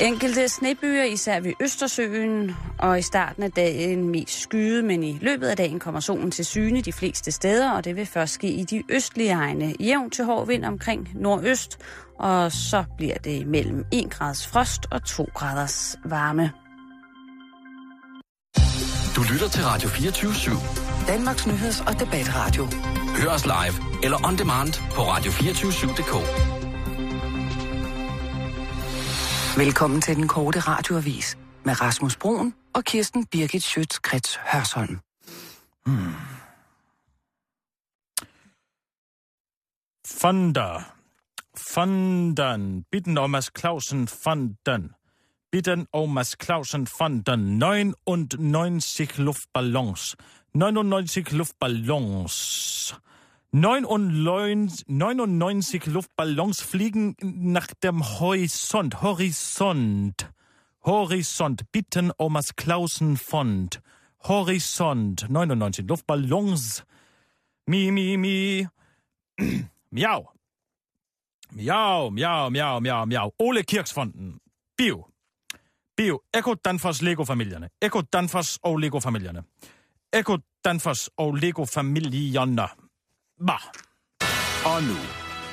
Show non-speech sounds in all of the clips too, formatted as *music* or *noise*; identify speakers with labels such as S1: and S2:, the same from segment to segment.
S1: Enkelte snebyer, især ved Østersøen, og i starten af dagen mest skyde, men i løbet af dagen kommer solen til syne de fleste steder, og det vil først ske i de østlige egne. Jævn til hård vind omkring nordøst, og så bliver det mellem 1 grads frost og 2 graders varme.
S2: Du lytter til Radio 24 /7.
S3: Danmarks Nyheds- og Debatradio.
S2: Hør os live eller on demand på radio247.dk.
S3: Velkommen til den korte radioavis med Rasmus Broen og Kirsten Birgit Schøtz-Krets Hørsholm.
S4: Fonda. Fonden. Bitten og Mads Clausen Fonden. Bitten og Mads Clausen Fonden. 99 Luftballons. 99 Luftballons. 99, 99 Luftballons fliegen nach dem Horizont. Horizont. Horizont. Bitten um das Klausen Fond. Horizont. 99 Luftballons. Mi, mi, mi. Miau. Miau, miau, miau, miau, miau. Ole Kirksfonden. Bio. Bio. Eko Danfoss Lego-familierne. Eko Danfoss og Lego-familierne. Eko Danfoss og Lego-familierne. Bah.
S5: Og nu,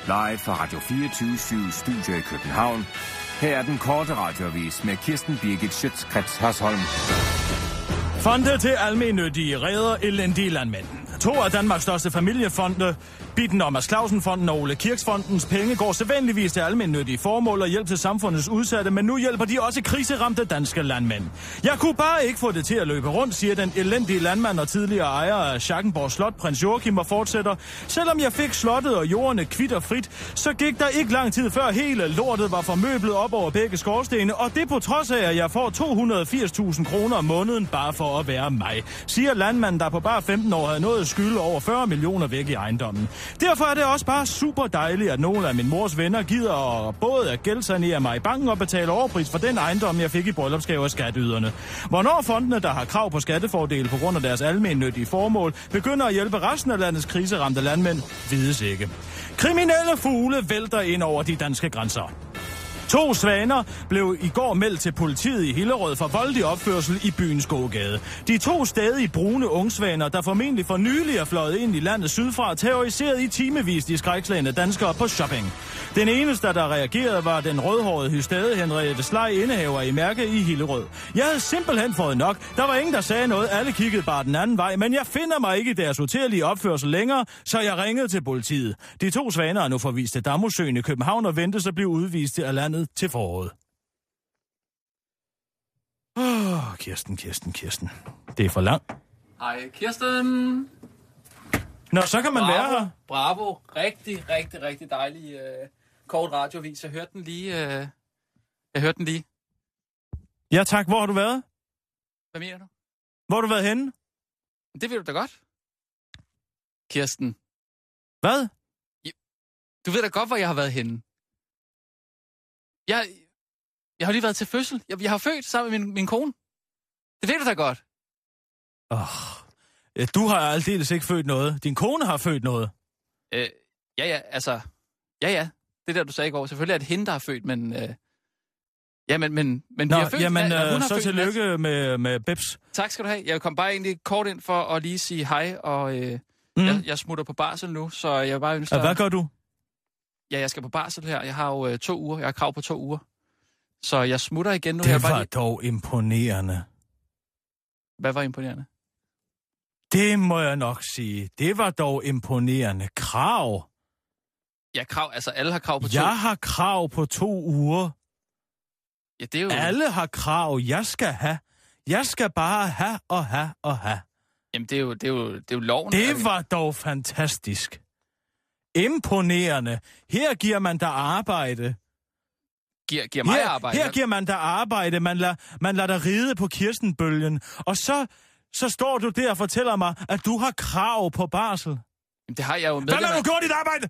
S5: live fra Radio 24 Studio i København. Her er den korte radiovis med Kirsten Birgit Schøtzgrads Hasholm.
S4: Fonde til almennyttige redder elendige landmænd. To af Danmarks største familiefonde, Bitten og Mads Clausen-fonden og Ole Kirksfondens penge, går sædvanligvis til almennyttige formål og hjælp til samfundets udsatte, men nu hjælper de også kriseramte danske landmænd. Jeg kunne bare ikke få det til at løbe rundt, siger den elendige landmand og tidligere ejer af Schackenborg Slot, prins Joachim, og fortsætter. Selvom jeg fik slottet og jordene kvitter frit, så gik der ikke lang tid før hele lortet var formøblet op over begge skorstene, og det på trods af, at jeg får 280.000 kroner om måneden bare for at være mig, siger landmanden, der på bare 15 år havde nået skyld over 40 millioner væk i ejendommen. Derfor er det også bare super dejligt, at nogle af min mors venner gider at både at gældsanere mig i banken og betale overpris for den ejendom, jeg fik i bryllupsgave af skatteyderne. Hvornår fondene, der har krav på skattefordele på grund af deres almennyttige formål, begynder at hjælpe resten af landets kriseramte landmænd, vides ikke. Kriminelle fugle vælter ind over de danske grænser. To svaner blev i går meldt til politiet i Hillerød for voldelig opførsel i byens gågade. De to stadig brune ungsvaner, der formentlig for nylig er fløjet ind i landet sydfra, terroriserede i timevis de skrækslagende danskere på shopping. Den eneste, der reagerede, var den rødhårede hystade Henriette Slej, indehaver i mærke i Hillerød. Jeg havde simpelthen fået nok. Der var ingen, der sagde noget. Alle kiggede bare den anden vej, men jeg finder mig ikke i deres uterlige opførsel længere, så jeg ringede til politiet. De to svaner er nu forvist til Damosøen i København og ventes at blive udvist af landet til foråret. Åh, oh, Kirsten, Kirsten, Kirsten. Det er for langt.
S6: Hej Kirsten.
S4: Nå, så kan man være her.
S6: Bravo. Rigtig, rigtig, rigtig dejlig øh, kort radiovis. Jeg hørte den lige. Øh, jeg hørte den lige.
S4: Ja tak, hvor har du været?
S6: Hvad mener du?
S4: Hvor har du været henne?
S6: Det ved du da godt. Kirsten,
S4: Hvad?
S6: du ved da godt, hvor jeg har været henne. Jeg, jeg har lige været til fødsel. Jeg, jeg har født sammen med min, min kone. Det ved du da godt.
S4: Oh, du har aldeles ikke født noget. Din kone har født noget.
S6: Øh, ja, ja, altså... Ja, ja. Det der, du sagde i går. Selvfølgelig er det hende, der har født, men... Øh, ja, men, men, men vi har født...
S4: jamen,
S6: ja, hun
S4: øh,
S6: har
S4: så
S6: født en nat.
S4: tillykke med, med Bebs.
S6: Tak skal du have. Jeg kom bare egentlig kort ind for at lige sige hej, og øh,
S4: Mm.
S6: mm. jeg, jeg smutter på barsel nu, så jeg vil bare ønsker...
S4: Ja, hvad gør du?
S6: Ja, jeg skal på barsel her. Jeg har jo øh, to uger. Jeg har krav på to uger. Så jeg smutter igen nu. jeg
S4: Det
S6: bare
S4: var dog imponerende.
S6: lige... Hvad var imponerende?
S4: Det må jeg nok sige. Det var dog imponerende. Krav.
S6: Ja, krav. Altså, alle har krav på to.
S4: Jeg har krav på to uger.
S6: ja det er jo...
S4: Alle har krav, jeg skal have. Jeg skal bare have og have og have.
S6: Jamen, det er jo, det er jo, det er jo loven. Altså,
S4: Det var dog fantastisk. Imponerende. Her giver man dig arbejde.
S6: Giver, giver mig
S4: Her,
S6: arbejde.
S4: her giver man dig arbejde. Man lader, man lader dig ride på kirstenbølgen. Og så, så står du der og fortæller mig, at du har krav på barsel.
S6: Jamen, det har jeg jo med.
S4: Hvad har du gjort i dit arbejde?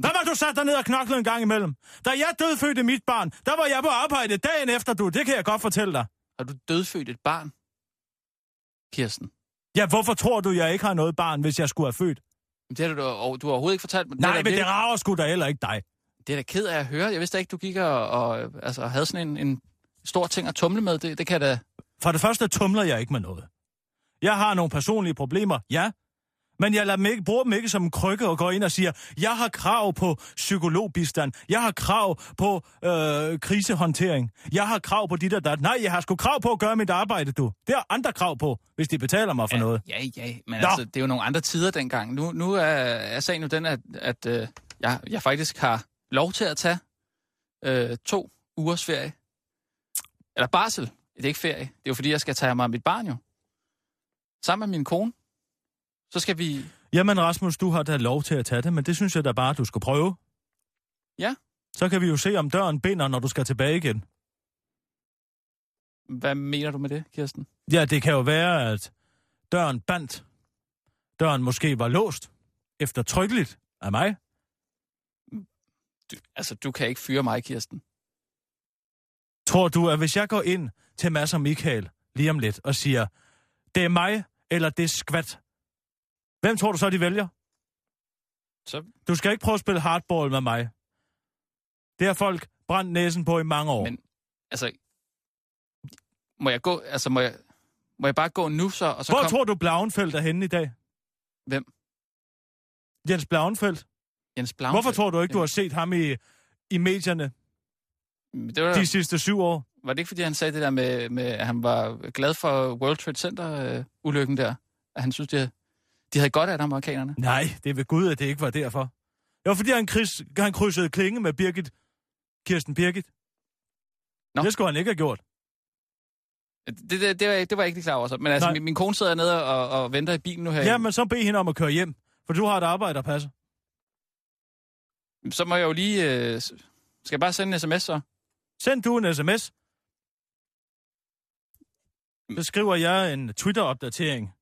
S4: Hvad var du sat dig ned og knoklede en gang imellem? Da jeg dødfødte mit barn, der var jeg på arbejde dagen efter, du. Det kan jeg godt fortælle dig.
S6: Har du dødfødt et barn? Kirsten.
S4: Ja, hvorfor tror du, jeg ikke har noget barn, hvis jeg skulle have født?
S6: Jamen, det har du, da- og du har overhovedet ikke fortalt mig.
S4: Nej,
S6: det, er da
S4: men det
S6: virkelig-
S4: rager sgu da heller ikke dig.
S6: Det er da ked af at høre. Jeg vidste da ikke, du gik og, og øh, altså, havde sådan en, en stor ting at tumle med. Det, det kan jeg da...
S4: For det første tumler jeg ikke med noget. Jeg har nogle personlige problemer, ja. Men jeg lader dem ikke, bruger dem ikke som en krykke og går ind og siger, jeg har krav på psykologbistand, jeg har krav på øh, krisehåndtering, jeg har krav på dit og dat. Nej, jeg har sgu krav på at gøre mit arbejde, du. Det har andre krav på, hvis de betaler mig for noget.
S6: Ja, ja, men
S4: Nå.
S6: Nå. altså, det er jo nogle andre tider dengang. Nu, nu er, er sagen jo den, at, at øh, jeg, jeg faktisk har lov til at tage øh, to ugers ferie. Eller barsel. Det er ikke ferie. Det er jo fordi, jeg skal tage mig af mit barn jo. Sammen med min kone. Så skal vi...
S4: Jamen Rasmus, du har da lov til at tage det, men det synes jeg da bare, du skal prøve.
S6: Ja.
S4: Så kan vi jo se, om døren binder, når du skal tilbage igen.
S6: Hvad mener du med det, Kirsten?
S4: Ja, det kan jo være, at døren bandt. Døren måske var låst. Eftertrykkeligt af mig.
S6: Du, altså, du kan ikke fyre mig, Kirsten.
S4: Tror du, at hvis jeg går ind til Mads og Michael lige om lidt og siger, det er mig eller det er skvat, hvem tror du så, de vælger?
S6: Så-
S4: Du skal ikke prøve at spille hardball med mig. Det har folk brændt næsen på i mange år.
S6: Men- Altså, må jeg gå... Altså, må jeg, må jeg bare gå nu så, og så
S4: Hvor
S6: kom...
S4: tror du, Blauenfeldt er henne i dag?
S6: Hvem?
S4: Jens Blauenfeldt.
S6: Jens Blaum.
S4: Hvorfor tror du ikke, du har set ham i, i medierne
S6: Det var,
S4: de sidste syv år?
S6: Var det ikke, fordi han sagde det der med, med at han var glad for World Trade Center-ulykken der? At han synes, de, de havde godt af det, amerikanerne?
S4: Nej, det er ved Gud, at det ikke var derfor. Det var fordi, han, kryds, han krydsede klinge med Birgit. Kirsten Birgit.
S6: Nå.
S4: Det skulle han ikke have gjort.
S6: Det, det, det, var, jeg- det var jeg ikke lige klar over så. Men altså,
S4: Nej.
S6: min, min kone sidder nede og, og venter i bilen nu her.
S4: Ja, ja men så bed hende om at køre hjem. For du har et arbejde at passe.
S6: Så må jeg jo lige... Øh, s- skal jeg bare sende en sms så?
S4: Send du en sms. Så skriver jeg en Twitter-opdatering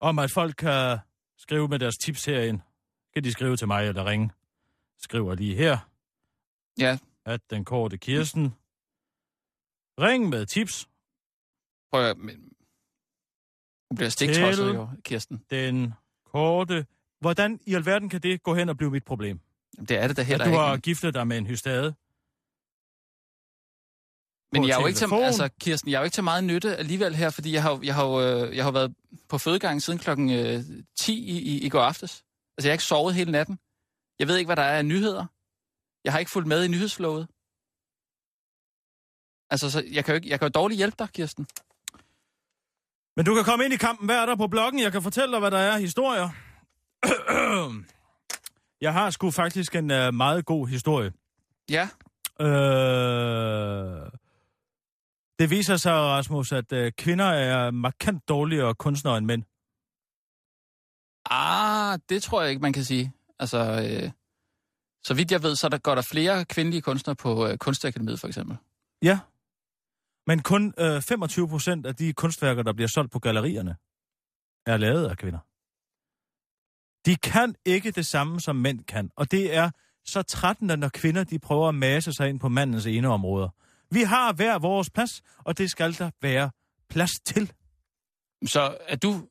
S4: om, at folk kan skrive med deres tips herind. Kan de skrive til mig eller ringe? Skriver lige her.
S6: Ja.
S4: At den korte Kirsten. Ring med tips.
S6: Prøv at... Men, hun bliver stiktosset jo, Kirsten.
S4: Den korte... Hvordan i alverden kan det gå hen og blive mit problem?
S6: Jamen, Det er det da
S4: At
S6: heller
S4: du
S6: ikke.
S4: har giftet dig med en hystade.
S6: Men
S4: på
S6: jeg er jo ikke til,
S4: telefon.
S6: altså, Kirsten, jeg er jo ikke til meget nytte alligevel her, fordi jeg har, jo- jeg har, jo, øh, jeg har jo været på fødegangen siden klokken øh, 10 i, i, i går aftes. Altså, jeg har ikke sovet hele natten. Jeg ved ikke, hvad der er af nyheder. Jeg har ikke fulgt med i nyhedsflowet. Altså, så jeg kan jo, ikke, jeg kan jo dårligt hjælpe dig, Kirsten.
S4: Men du kan komme ind i kampen. Hvad er der på bloggen? Jeg kan fortælle dig, hvad der er af historier. *clears throat* Jeg har sgu faktisk en uh, meget god historie.
S6: Ja,
S4: Øh... Det viser sig, Rasmus, at uh, kvinder er markant dårligere kunstnere end mænd.
S6: ah, det tror jeg ikke, man kan sige. Altså, øh, så vidt jeg ved, så er der går der flere kvindelige kunstnere på øh, Kunstakademiet, for eksempel.
S4: Ja. Men kun øh, 25 procent af de kunstværker, der bliver solgt på gallerierne, er lavet af kvinder. De kan ikke det samme, som mænd kan. Og det er så trættende, når kvinder de prøver at mase sig ind på mandens ene områder. Vi har hver vores plads, og det skal der være plads til.
S6: Så er du,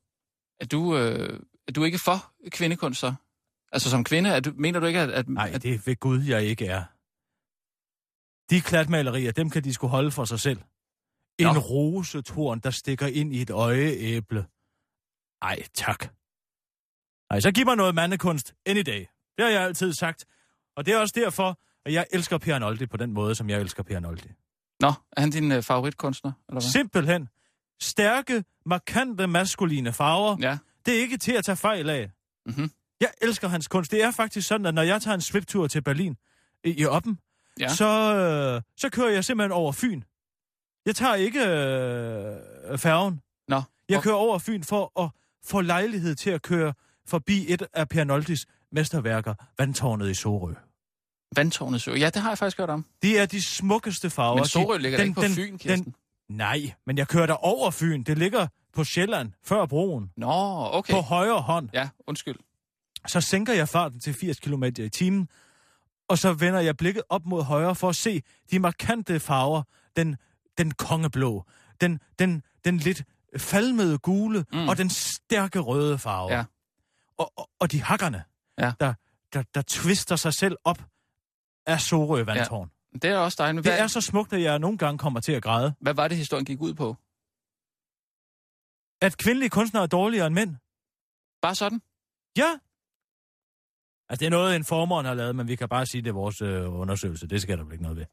S6: er du, øh, er du ikke for kvindekunst så? Altså som kvinde, er du, mener du ikke, at... at
S4: Nej,
S6: at,
S4: det er ved Gud, jeg ikke er. De klatmalerier, dem kan de skulle holde for sig selv. En
S6: Nå.
S4: rosetorn, der stikker ind i et øjeæble. Ej, tak. Ej, så giv mig noget mandekunst any day. Det har jeg altid sagt. Og det er også derfor, at jeg elsker Per Noldi på den måde, som jeg elsker Per Noldi.
S6: Nå, er han din øh, favoritkunstner, eller hvad?
S4: Simpelthen. Stærke, markante, maskuline farver.
S6: Ja.
S4: Det er ikke til at tage fejl af.
S6: Mhm.
S4: Jeg elsker hans kunst. Det er faktisk sådan, at når jeg tager en sviptur til Berlin i, i Oppen,
S6: Ja.
S4: så, øh, så kører jeg simpelthen over Fyn. Jeg tager ikke øh, færgen.
S6: Nå.
S4: Jeg
S6: hvor-
S4: kører over Fyn for at få lejlighed til at køre forbi et af Per Noldis mesterværker, Vandtårnet i Sorø.
S6: Vandtårnet Sø. Ja, det har jeg faktisk hørt om.
S4: Det er de smukkeste farver.
S6: Men
S4: De-
S6: Sorø ligger den, ikke på den, Fyn, Kirsten. Den...
S4: Nej, men jeg kører der over Fyn. Det ligger på Sjælland, før broen.
S6: Nå, okay.
S4: Okay. På højre hånd.
S6: Ja, undskyld.
S4: Så sænker jeg farten til 80 km i timen, og så vender jeg blikket op mod højre for at se de markante farver. Den, den kongeblå, den, den, den lidt falmede gule mm.
S6: Mm.
S4: og den stærke røde farve.
S6: Ja.
S4: Og, og, og de hakkerne,
S6: Ja.
S4: der, der, der twister sig selv op af Sorø Vandtårn. Ja.
S6: Det er også dejligt. Men
S4: Det
S6: Hvad,
S4: er så smukt, at jeg nogle gange kommer til at græde.
S6: hvad var det, historien gik ud på?
S4: At kvindelige kunstnere er dårligere end mænd.
S6: Bare sådan?
S4: Ja. Altså, det er noget, en formand har lavet, men vi kan bare sige, at det er vores øh, undersøgelse. Det skal der vel ikke noget ved.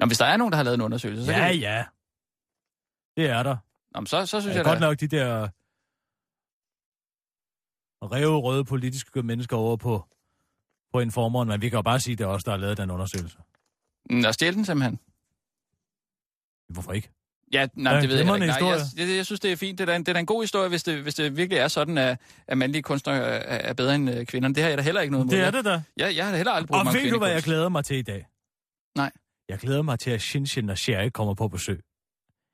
S6: Nå, hvis der er nogen, der har lavet en undersøgelse, så,
S4: Ja,
S6: kan...
S4: ja. Det er der.
S6: Nå, men så, så synes
S4: Ja,
S6: jeg,
S4: godt
S6: da...
S4: nok de der rev røde politiske mennesker over på, på informeren, men vi kan jo bare sige, at det er os, der har lavet den undersøgelse.
S6: Mm, Nå, stjæl den simpelthen.
S4: Hvorfor ikke?
S6: Ja, nej,
S4: Ja,
S6: det ved jeg
S4: glimrende
S6: heller ikke. Nej, jeg,
S4: historie.
S6: jeg, jeg synes, det er fint. Det er, da en, det er da en god historie, hvis det, hvis det virkelig er sådan, at, at mandlige kunstnere er, er bedre end øh, kvinderne. Det har jeg da heller ikke noget imod.
S4: Det er det da.
S6: Jeg, jeg har da heller aldrig brugt
S4: Og
S6: mig om
S4: ved du, hvad jeg
S6: kvindekunst.
S4: glæder mig til i dag?
S6: Nej.
S4: Jeg glæder mig til, at Shinshin og Sherry kommer på besøg.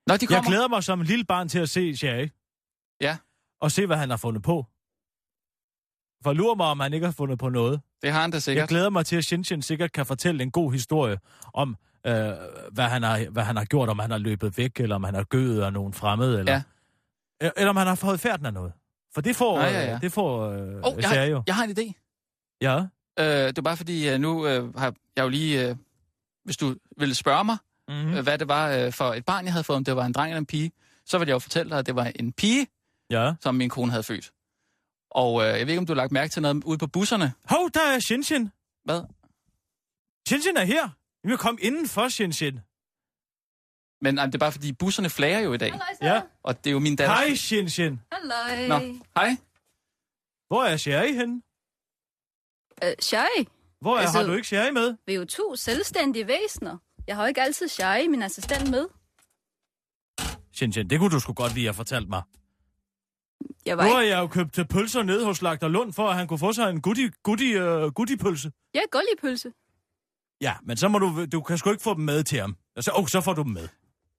S6: Nå, de
S4: Jeg
S6: kommer.
S4: glæder mig som en lille barn til at se Sherry.
S6: Ja.
S4: Og se, hvad han har fundet på. For lurer mig, om han ikke har fundet på noget.
S6: Det har han da
S4: Jeg
S6: sikkert.
S4: glæder mig til, at Shinshin sikkert kan fortælle en god historie om, øh, hvad, han har, hvad han har gjort, om han har løbet væk, eller om han har gødet af nogen fremmede, eller,
S6: Ja.
S4: eller, eller om han har fået færden af noget. For det får,
S6: Nå,
S4: ah,
S6: ja,
S4: ja,
S6: ja.
S4: ja. Det får øh,
S6: Åh,
S4: oh,
S6: jeg, har,
S4: jo.
S6: jeg har en idé.
S4: Ja.
S6: Øh, det er bare fordi, øh, nu øh, har jeg jo lige... Øh, hvis du ville spørge mig,
S4: Mm-hmm.
S6: mm. hvad det var øh, for et barn, jeg havde fået, om det var en dreng eller en pige, så ville jeg jo fortælle dig, at det var en pige,
S4: ja.
S6: som min kone havde født. Og øh, jeg ved ikke, om du har lagt mærke til noget ude på busserne.
S4: Hov, der er Shinshin.
S6: Hvad?
S4: Shinshin er her. Vi vil komme indenfor, Shinshin.
S6: Men nej, det er bare fordi, busserne flager jo i dag.
S4: Ja.
S6: Og det er jo min datter.
S4: Hej, Shinshin.
S7: Halløj.
S6: Nå, hej.
S4: Hvor er Sherry henne?
S7: Øh, shy.
S4: Hvor er, altså...
S7: Altså-
S4: har du ikke Sherry med?
S7: Vi er jo to selvstændige væsener. Jeg har jo ikke altid Shy, min assistent, med.
S4: Shinshin, det kunne du sgu godt lige have fortalt mig.
S7: Jeg
S4: Nu
S7: var
S4: har
S7: ikke...
S4: jeg jo købt øh, pølser nede hos Slagter Lund, for at han kunne få sig en goodie, goodie, uh, goodiepølse.
S7: Jeg er gulvpølse.
S4: Ja, men så må du, du kan sgu ikke få dem med til ham. Og så, oh, så får du dem med.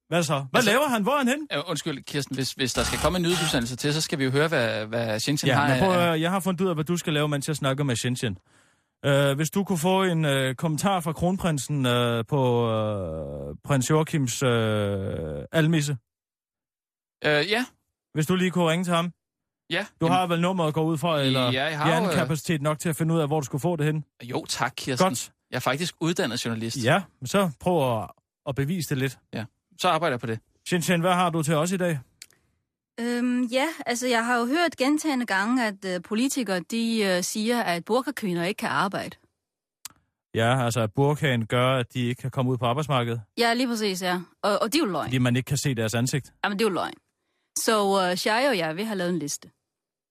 S4: Hvad så? Hvad
S6: Altså-
S4: laver han? Hvor er han henne?
S6: Øh, undskyld, Kirsten, hvis, hvis der skal komme en nyhedsudsendelse til, så skal vi jo høre, hvad, hvad Shenzhen
S4: Ja,
S6: har.
S4: men
S6: af-
S4: prøv, at høre, jeg har fundet ud af, hvad du skal lave, mens jeg snakker med Shenzhen. Uh, hvis du kunne få en uh, kommentar fra kronprinsen uh, på uh, prins Joachims uh, almisse.
S6: Øh, ja,
S4: Hvis du lige kunne ringe til ham.
S6: ja.
S4: Du har vel nummeret at gå ud fra, eller
S6: Ja, jeg har jo, øh,
S4: hjernekapacitet nok til at finde ud af, hvor du skulle få det hen?
S6: Jo, tak, Kirsten.
S4: Godt.
S6: Jeg er faktisk uddannet journalist.
S4: Ja, men så prøv at, at bevise det lidt.
S6: Så arbejder jeg på det.
S4: Shenzhen, hvad har du til os i dag?
S7: Øhm, ja, altså jeg har jo hørt gentagende gange, at øh, politikere de øh, siger, at burkakvinder ikke kan arbejde.
S4: Ja, altså at burkaen gør, at de ikke kan komme ud på arbejdsmarkedet,
S7: Ja, lige præcis, ja. Og, og det er jo løgn.
S4: fordi man ikke kan se deres ansigt.
S7: Jamen, det er jo løgn. Så øh, Shy og jeg, vi har lavet en liste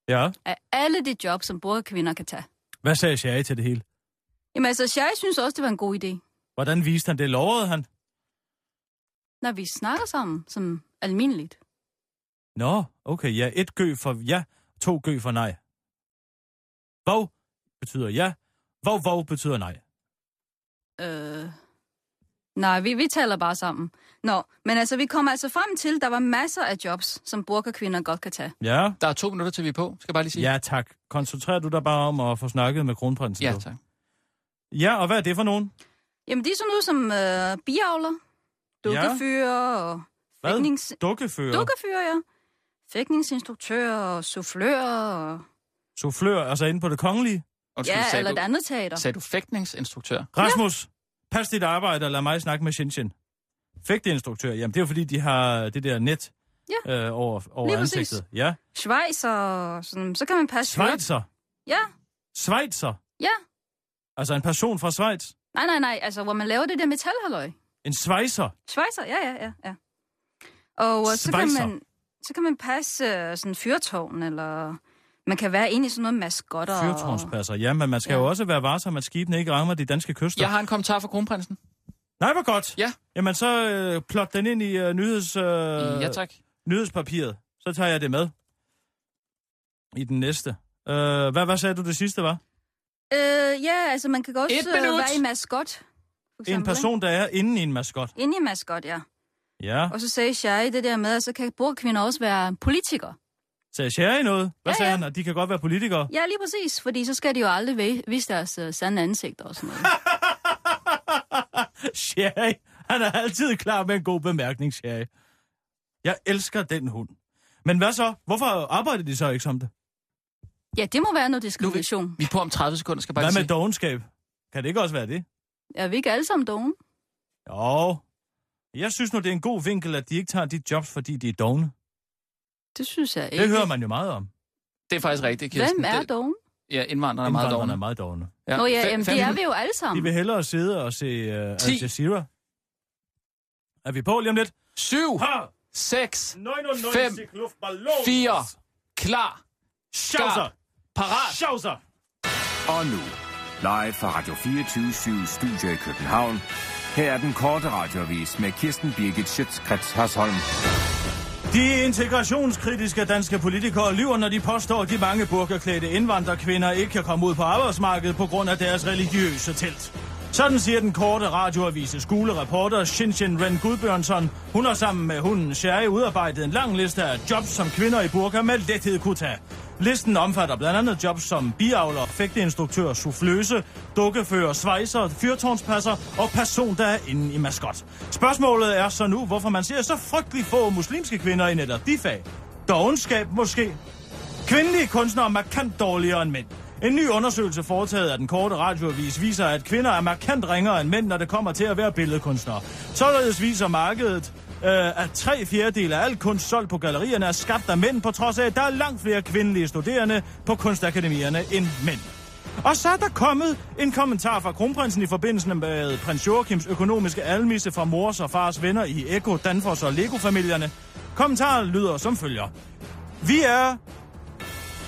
S4: Ja.
S7: af alle de job, som burkakvinder kan tage.
S4: Hvad sagde Shari til det hele?
S7: Jamen altså, Shy synes også, det var en god idé.
S4: Hvordan viste han det? Lovede han?
S7: Når vi snakker sammen, som almindeligt.
S4: Nå, okay, ja, et gø for ja, to gø for nej. Vov betyder ja, vov vov betyder nej.
S7: Øh... Nej, vi, vi taler bare sammen. Nå, men altså, vi kom altså frem til, der var masser af jobs, som burkakvinder godt kan tage.
S4: Ja,
S6: Der er to minutter, til vi er på. Skal jeg bare lige sige?
S4: ja tak. Koncentrer du dig bare om at få snakket med kronprinsen.
S6: ja
S4: du.
S6: tak.
S4: ja og hvad er det for nogen?
S7: Jamen, de er sådan noget som øh, biavler, dukkefyrer og
S4: Hvad?
S7: fægtnings...
S4: Dukkefører? Dukke.
S7: Dukkefyrer, ja. Fægtningsinstruktører og soufflører og...
S4: Soufflør, altså inde på det kongelige.
S6: Undskyld,
S7: Ja,
S6: sagde,
S7: eller et
S6: du,
S7: andet teater.
S6: sagde du fægtningsinstruktør?
S4: Rasmus, ja. pas dit arbejde og lad mig snakke med Shinshin. Fægteinstruktør, jamen det er jo fordi, de har det der net ja. øh, over, over
S7: Lige præcis.
S4: ansigtet. Ja.
S7: Schweiz og sådan... Så kan man passe...
S4: Schweizer.
S7: Ja,
S4: Schweizer.
S7: ja.
S4: Altså en person fra Schweiz.
S7: Nej, nej, nej, altså, hvor man laver det der metalhalløj.
S4: En svejser.
S7: Schweizer, ja, ja, ja. ja. Og øh, så kan,
S4: Schweizer.
S7: man, så kan man passe øh, sådan fyrtårn, eller man kan være inde i sådan noget maskotter. og-
S4: Fyrtårnspasser. Ja, men man skal ja.
S7: Ja.
S4: jo også være varsom, at skibene ikke rammer de danske kyster.
S6: Jeg har en kommentar fra kronprinsen.
S4: Nej, hvor godt.
S6: Ja.
S4: Jamen, så øh, plot den ind i øh, nyheds, øh,
S6: Øh... Ja, tak.
S4: nyhedspapiret. Så tager jeg det med. I den næste. Øh, hvad, hvad sagde du det sidste var?
S7: Øh, ja, altså man kan godt
S6: Et
S7: øh,
S6: minut.
S7: være i maskot. For
S4: en person, der er inde i en maskot.
S7: Ikke? Inde i maskot, ja.
S4: Ja.
S7: Og så sagde Shai det der med, at så kan burkvinder også være politikere.
S4: Sagde Sherry noget? Hvad ja,
S7: Ja,
S4: sagde
S7: ja.
S4: han? At de kan godt være politikere. *laughs*
S7: Ja, lige præcis, fordi så skal de jo aldrig væ- vise deres øh, sande ansigter og sådan noget.
S4: Sherry, han er altid klar med en god bemærkning, Sherry. Jeg elsker den hund. Men hvad så? Hvorfor arbejder de så ikke som det?
S7: ja, det må være noget diskrimination.
S6: Vi er på om 30 sekunder, skal jeg bare
S4: Hvad
S6: lige
S4: med
S6: sige.
S4: dogenskab? Kan det ikke også være det?
S7: Er vi ikke alle sammen dogne?
S4: Jo. Jeg synes nu, det er en god vinkel, at de ikke tager de jobs, fordi de er dogne.
S7: Det synes jeg ikke.
S4: Det hører man jo meget om.
S6: Det er faktisk rigtigt, Kirsten.
S7: Hvem er
S6: det?
S7: dogen?
S6: Ja, indvandrerne er meget
S4: Indvandrerne
S6: dogne.
S4: er meget dogne.
S7: Ja. Nå ja,
S6: Fe-
S7: jamen, det
S6: 500
S7: er vi jo alle
S4: De
S7: sammen.
S4: vil hellere sidde og se uh, Al
S6: Ti.
S4: Jazeera. Er vi på lige om lidt?
S6: Syv,
S4: Ha!
S6: seks,
S4: 99
S6: Fem,
S4: luftballons.
S6: fire, klar,
S4: Schauser.
S6: skarp, parat.
S4: Schauser.
S5: Og nu, live fra Radio 24 Studio i København. Her er den korte radiovis med Kirsten Birgit Schøtzgrads Hasholm.
S4: De integrationskritiske danske politikere lyver, når de påstår, at de mange burkerklædte indvandrerkvinder ikke kan komme ud på arbejdsmarkedet på grund af deres religiøse telt. Sådan siger den korte radioavise skolereporter Shinshin Ren Gudbjørnsson. Hun har sammen med hunden Sherry udarbejdet en lang liste af jobs, som kvinder i burka med lethed kunne tage. Listen omfatter blandt andet jobs som biavler, fægteinstruktør, souffløse, dukkefører, svejser, fyrtårnspasser og person, der er inde i maskot. Spørgsmålet er så nu, hvorfor man ser så frygtelig få muslimske kvinder i netop de fag. Dogenskab måske? Kvindelige kunstnere er markant dårligere end mænd. En ny undersøgelse foretaget af den korte radioavis viser, at kvinder er markant ringere end mænd, når det kommer til at være billedkunstnere. Således viser markedet, øh, at tre fjerdedel af al kunst solgt på gallerierne er skabt af mænd, på trods af, at der er langt flere kvindelige studerende på kunstakademierne end mænd. Og så er der kommet en kommentar fra kronprinsen i forbindelse med prins Joachims økonomiske almisse fra mors og fars venner i Eko, Danfors og Lego-familierne. Kommentaren lyder som følger. Vi er...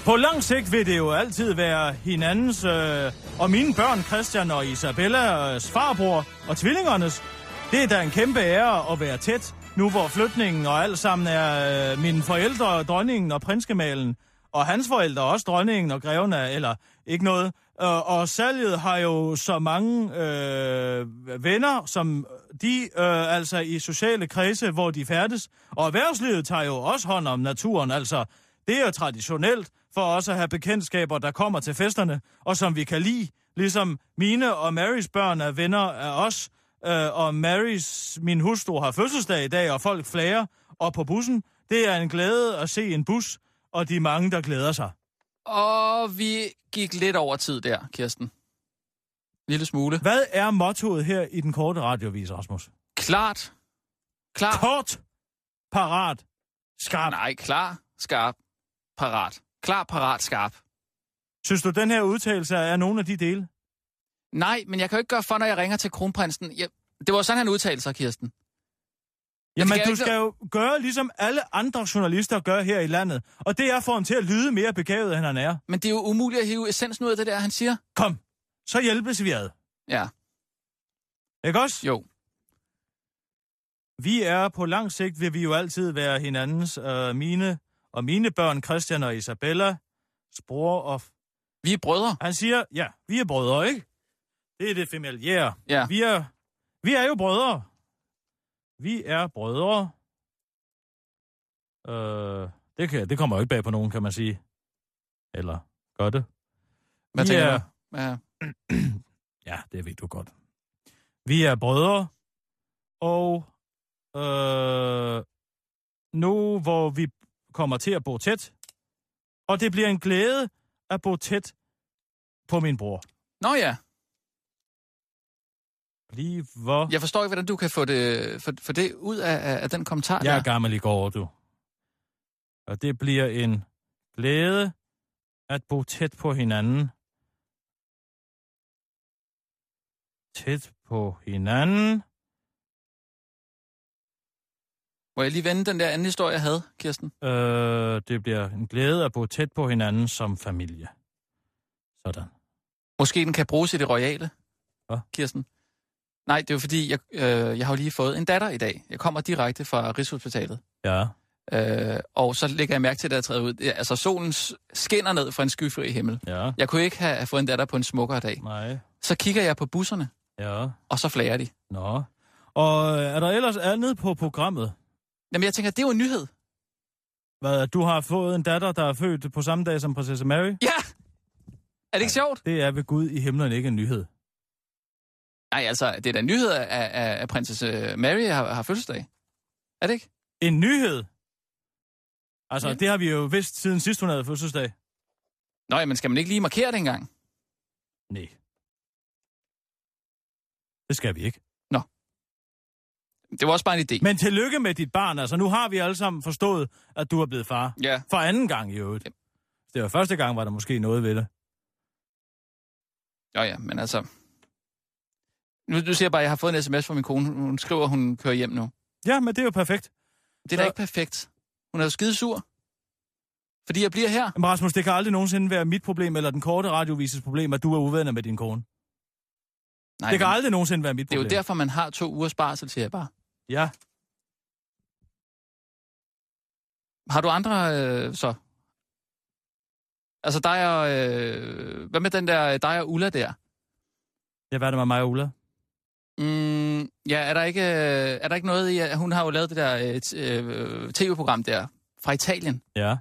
S4: På lang sigt vil det jo altid være hinandens øh, og mine børn Christian og Isabellas farbror og tvillingernes. Det er da en kæmpe ære at være tæt, nu hvor flytningen og alt sammen er øh, mine forældre, dronningen og prinskemalen. Og hans forældre, også dronningen og greven er, eller ikke noget. Og, og salget har jo så mange øh, venner, som de øh, altså i sociale kredse, hvor de færdes. Og erhvervslivet tager jo også hånd om naturen, altså. Det er jo traditionelt for os at have bekendtskaber, der kommer til festerne, og som vi kan lide. Ligesom mine og Marys børn er venner af os, øh, og Marys, min hustru, har fødselsdag i dag, og folk flager op på bussen. Det er en glæde at se en bus, og de mange, der glæder sig.
S6: Og vi gik lidt over tid der, Kirsten. Lille smule.
S4: Hvad er mottoet her i den korte radiovis, Rasmus?
S6: Klart. Klar.
S4: Kort, parat, skarp.
S6: Nej, klar, skarp, parat. Klar, parat, skarp.
S4: Synes du, den her udtalelse er nogle af de dele?
S6: Nej, men jeg kan jo ikke gøre for, når jeg ringer til kronprinsen. Jeg... Det var sådan, han udtalte sig, Kirsten.
S4: Jamen,
S6: skal jeg
S4: du
S6: ikke-
S4: skal jo gøre ligesom alle andre journalister gør her i landet. Og det er for ham til at lyde mere begavet, end han er.
S6: Men det er jo umuligt at hive essensen ud af det der, han siger.
S4: Kom, så hjælpes vi ad.
S6: Ja,
S4: Ikke også?
S6: jo.
S4: Vi er på lang sigt, vil vi jo altid være hinandens øh, mine og mine børn, Christian og Isabella, bror og... f-
S6: Vi er brødre.
S4: Han siger, ja, vi er brødre, ikke? Det er det familiære.
S6: Ja.
S4: Vi er, vi er jo brødre. Vi er brødre. Øh, det, kan, det kommer jo ikke bag på nogen, kan man sige. Eller gør det?
S6: Hvad
S4: Vi
S6: tænker
S4: er-
S6: du? Ja.
S4: Ja, det ved du godt. Vi er brødre, og øh, nu hvor vi kommer til at bo tæt, og det bliver en glæde at bo tæt på min bror.
S6: Nå ja,
S4: Lige hvor...
S6: jeg forstår ikke, hvordan du kan få det, for, for det ud af, af- af den kommentar
S4: Jeg er
S6: der.
S4: gammel i går, du. Og det bliver en glæde at bo tæt på hinanden. Tæt på hinanden.
S6: Må jeg lige vende den der anden historie, jeg havde, Kirsten?
S4: Øh, det bliver en glæde at bo tæt på hinanden som familie. Sådan.
S6: Måske den kan bruges i det royale,
S4: Hvad?
S6: Kirsten. Nej, det er jo fordi, jeg, øh, jeg har jo lige fået en datter i dag. Jeg kommer direkte fra Rigshospitalet.
S4: Ja.
S6: Øh, og så lægger jeg mærke til, at jeg træder ud. Ja, Altså, solen s- skinner ned fra en skyfri himmel.
S4: Ja.
S6: Jeg kunne ikke have have fået en datter på en smukkere dag.
S4: Nej.
S6: Så kigger jeg på busserne,
S4: Ja.
S6: og så flager de.
S4: Nå. Og øh, er der ellers andet på programmet?
S6: Jamen, jeg tænker, det er jo en nyhed.
S4: Hvad, at du har fået en datter, der er født på samme dag som prinsesse Mary?
S6: Ja! Er det ikke sjovt?
S4: Det er ved Gud i himlen ikke en nyhed.
S6: Nej, altså, det er da en nyhed, at, at, at prinsesse øh, Mary har, har fødselsdag. Er det ikke?
S4: En nyhed? Altså,
S6: Ja.
S4: det har vi jo vidst siden sidst, hun havde fødselsdag.
S6: Nå, jamen, skal man ikke lige markere det engang?
S4: Nej. Det skal vi ikke.
S6: Det var også bare en idé.
S4: Men tillykke med dit barn. Altså, nu har vi alle sammen forstået, at du er blevet far.
S6: Ja,
S4: For anden gang i øvrigt.
S6: Ja.
S4: Det var første gang, var der måske noget ved det.
S6: jo ja, men altså... Nu, nu siger jeg bare, at jeg har fået en sms fra min kone. Hun skriver, at hun kører hjem nu.
S4: Ja, men det er jo perfekt.
S6: Det er da
S4: Så-
S6: ikke perfekt. Hun er jo skide sur. Fordi jeg bliver her.
S4: Men Rasmus, det kan aldrig nogensinde være mit problem, eller den korte radiovises problem, at du er uvenner med din kone. Nej,
S6: Nej,
S4: det kan
S6: men
S4: aldrig nogensinde være mit
S6: det er
S4: problem.
S6: jo derfor, man har to ugers barsel, siger jeg bare.
S4: Ja.
S6: Har du andre øh, så? Altså dig og... Øh, hvad med den der øh, dig og Ulla der?
S4: Ja, hvad er det med mig og Ulla?
S6: Mm, ja, er der, ikke, øh, er der ikke noget i, at hun har jo lavet det der øh, t- øh, tv-program der fra Italien?
S4: Ja.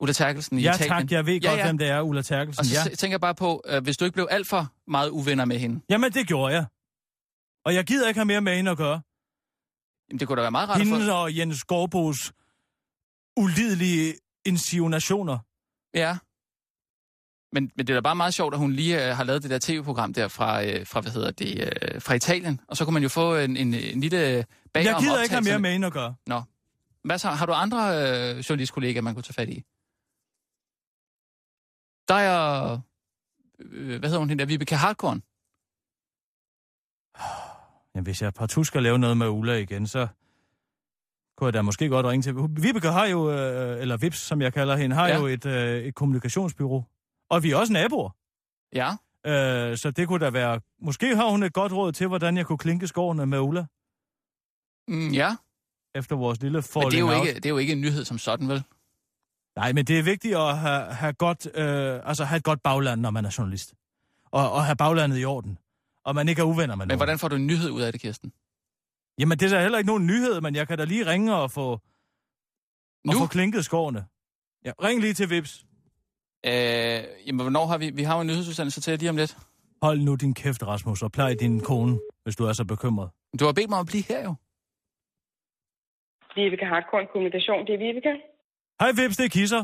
S6: Ulla Terkelsen i
S4: Ja
S6: Italien.
S4: tak, jeg ved
S6: Ja,
S4: godt,
S6: ja.
S4: hvem det er, Ulla
S6: Og
S4: Terkelsen.
S6: så
S4: Ja.
S6: ja. tænker jeg bare på, øh, hvis du ikke blev alt for meget uvenner med hende,
S4: Jamen, det gjorde jeg. Og jeg gider ikke have mere med hende at gøre.
S6: jamen, det kunne da være meget rart at få...
S4: Hendes og Jens Gårdbos ulidelige insinuationer.
S6: Ja. Men, men det er da bare meget sjovt, at hun lige øh, har lavet det der tv-program der fra, øh, fra, hvad hedder det, øh, fra Italien. Og så kunne man jo få en, en, en lille bag
S4: Jeg gider ikke have mere med hende at gøre.
S6: Hvad så? Har du andre øh, journalistkollegaer, man kunne tage fat i? Der er... Øh, hvad hedder hun hende der? Vibeke Hartkorn.
S4: Jamen, hvis jeg partout skal lave noget med Ulla igen, så kunne jeg da måske godt ringe til... Vibeke har jo, øh, eller Vips, som jeg kalder hende, har
S6: Ja.
S4: ja. jo et, øh, et kommunikationsbyrå. Og vi er også naboer.
S6: Ja.
S4: Øh, så det kunne da være... Måske har hun et godt råd til, hvordan jeg kunne klinke skårene med Ulla
S6: Mm, ja.
S4: efter vores lille
S6: Men det er,
S4: falling
S6: jo
S4: out.
S6: ikke, det er jo ikke en nyhed som sådan, vel?
S4: Nej, men det er vigtigt at have, have, godt, øh, altså have et godt bagland, når man er journalist. Og, og have baglandet i orden. Og man ikke er uvenner med
S6: Men
S4: nogen.
S6: hvordan får du en nyhed ud af det, Kirsten?
S4: Jamen, det er da heller ikke nogen nyhed, men jeg kan da lige ringe og få, og
S6: Nu?
S4: få klinket skårene. Ja, ring lige til Vips.
S6: Øh, jamen, hvornår har vi... Vi har jo en nyhedsudsendelse til lige om lidt.
S4: Hold nu din kæft, Rasmus, og plej din kone, hvis du er så bekymret.
S6: Du har bedt mig om at blive her, jo.
S8: Vibeke Hartkorn Kommunikation, det er Vibeke.
S4: Hej Vips, det er Kisser.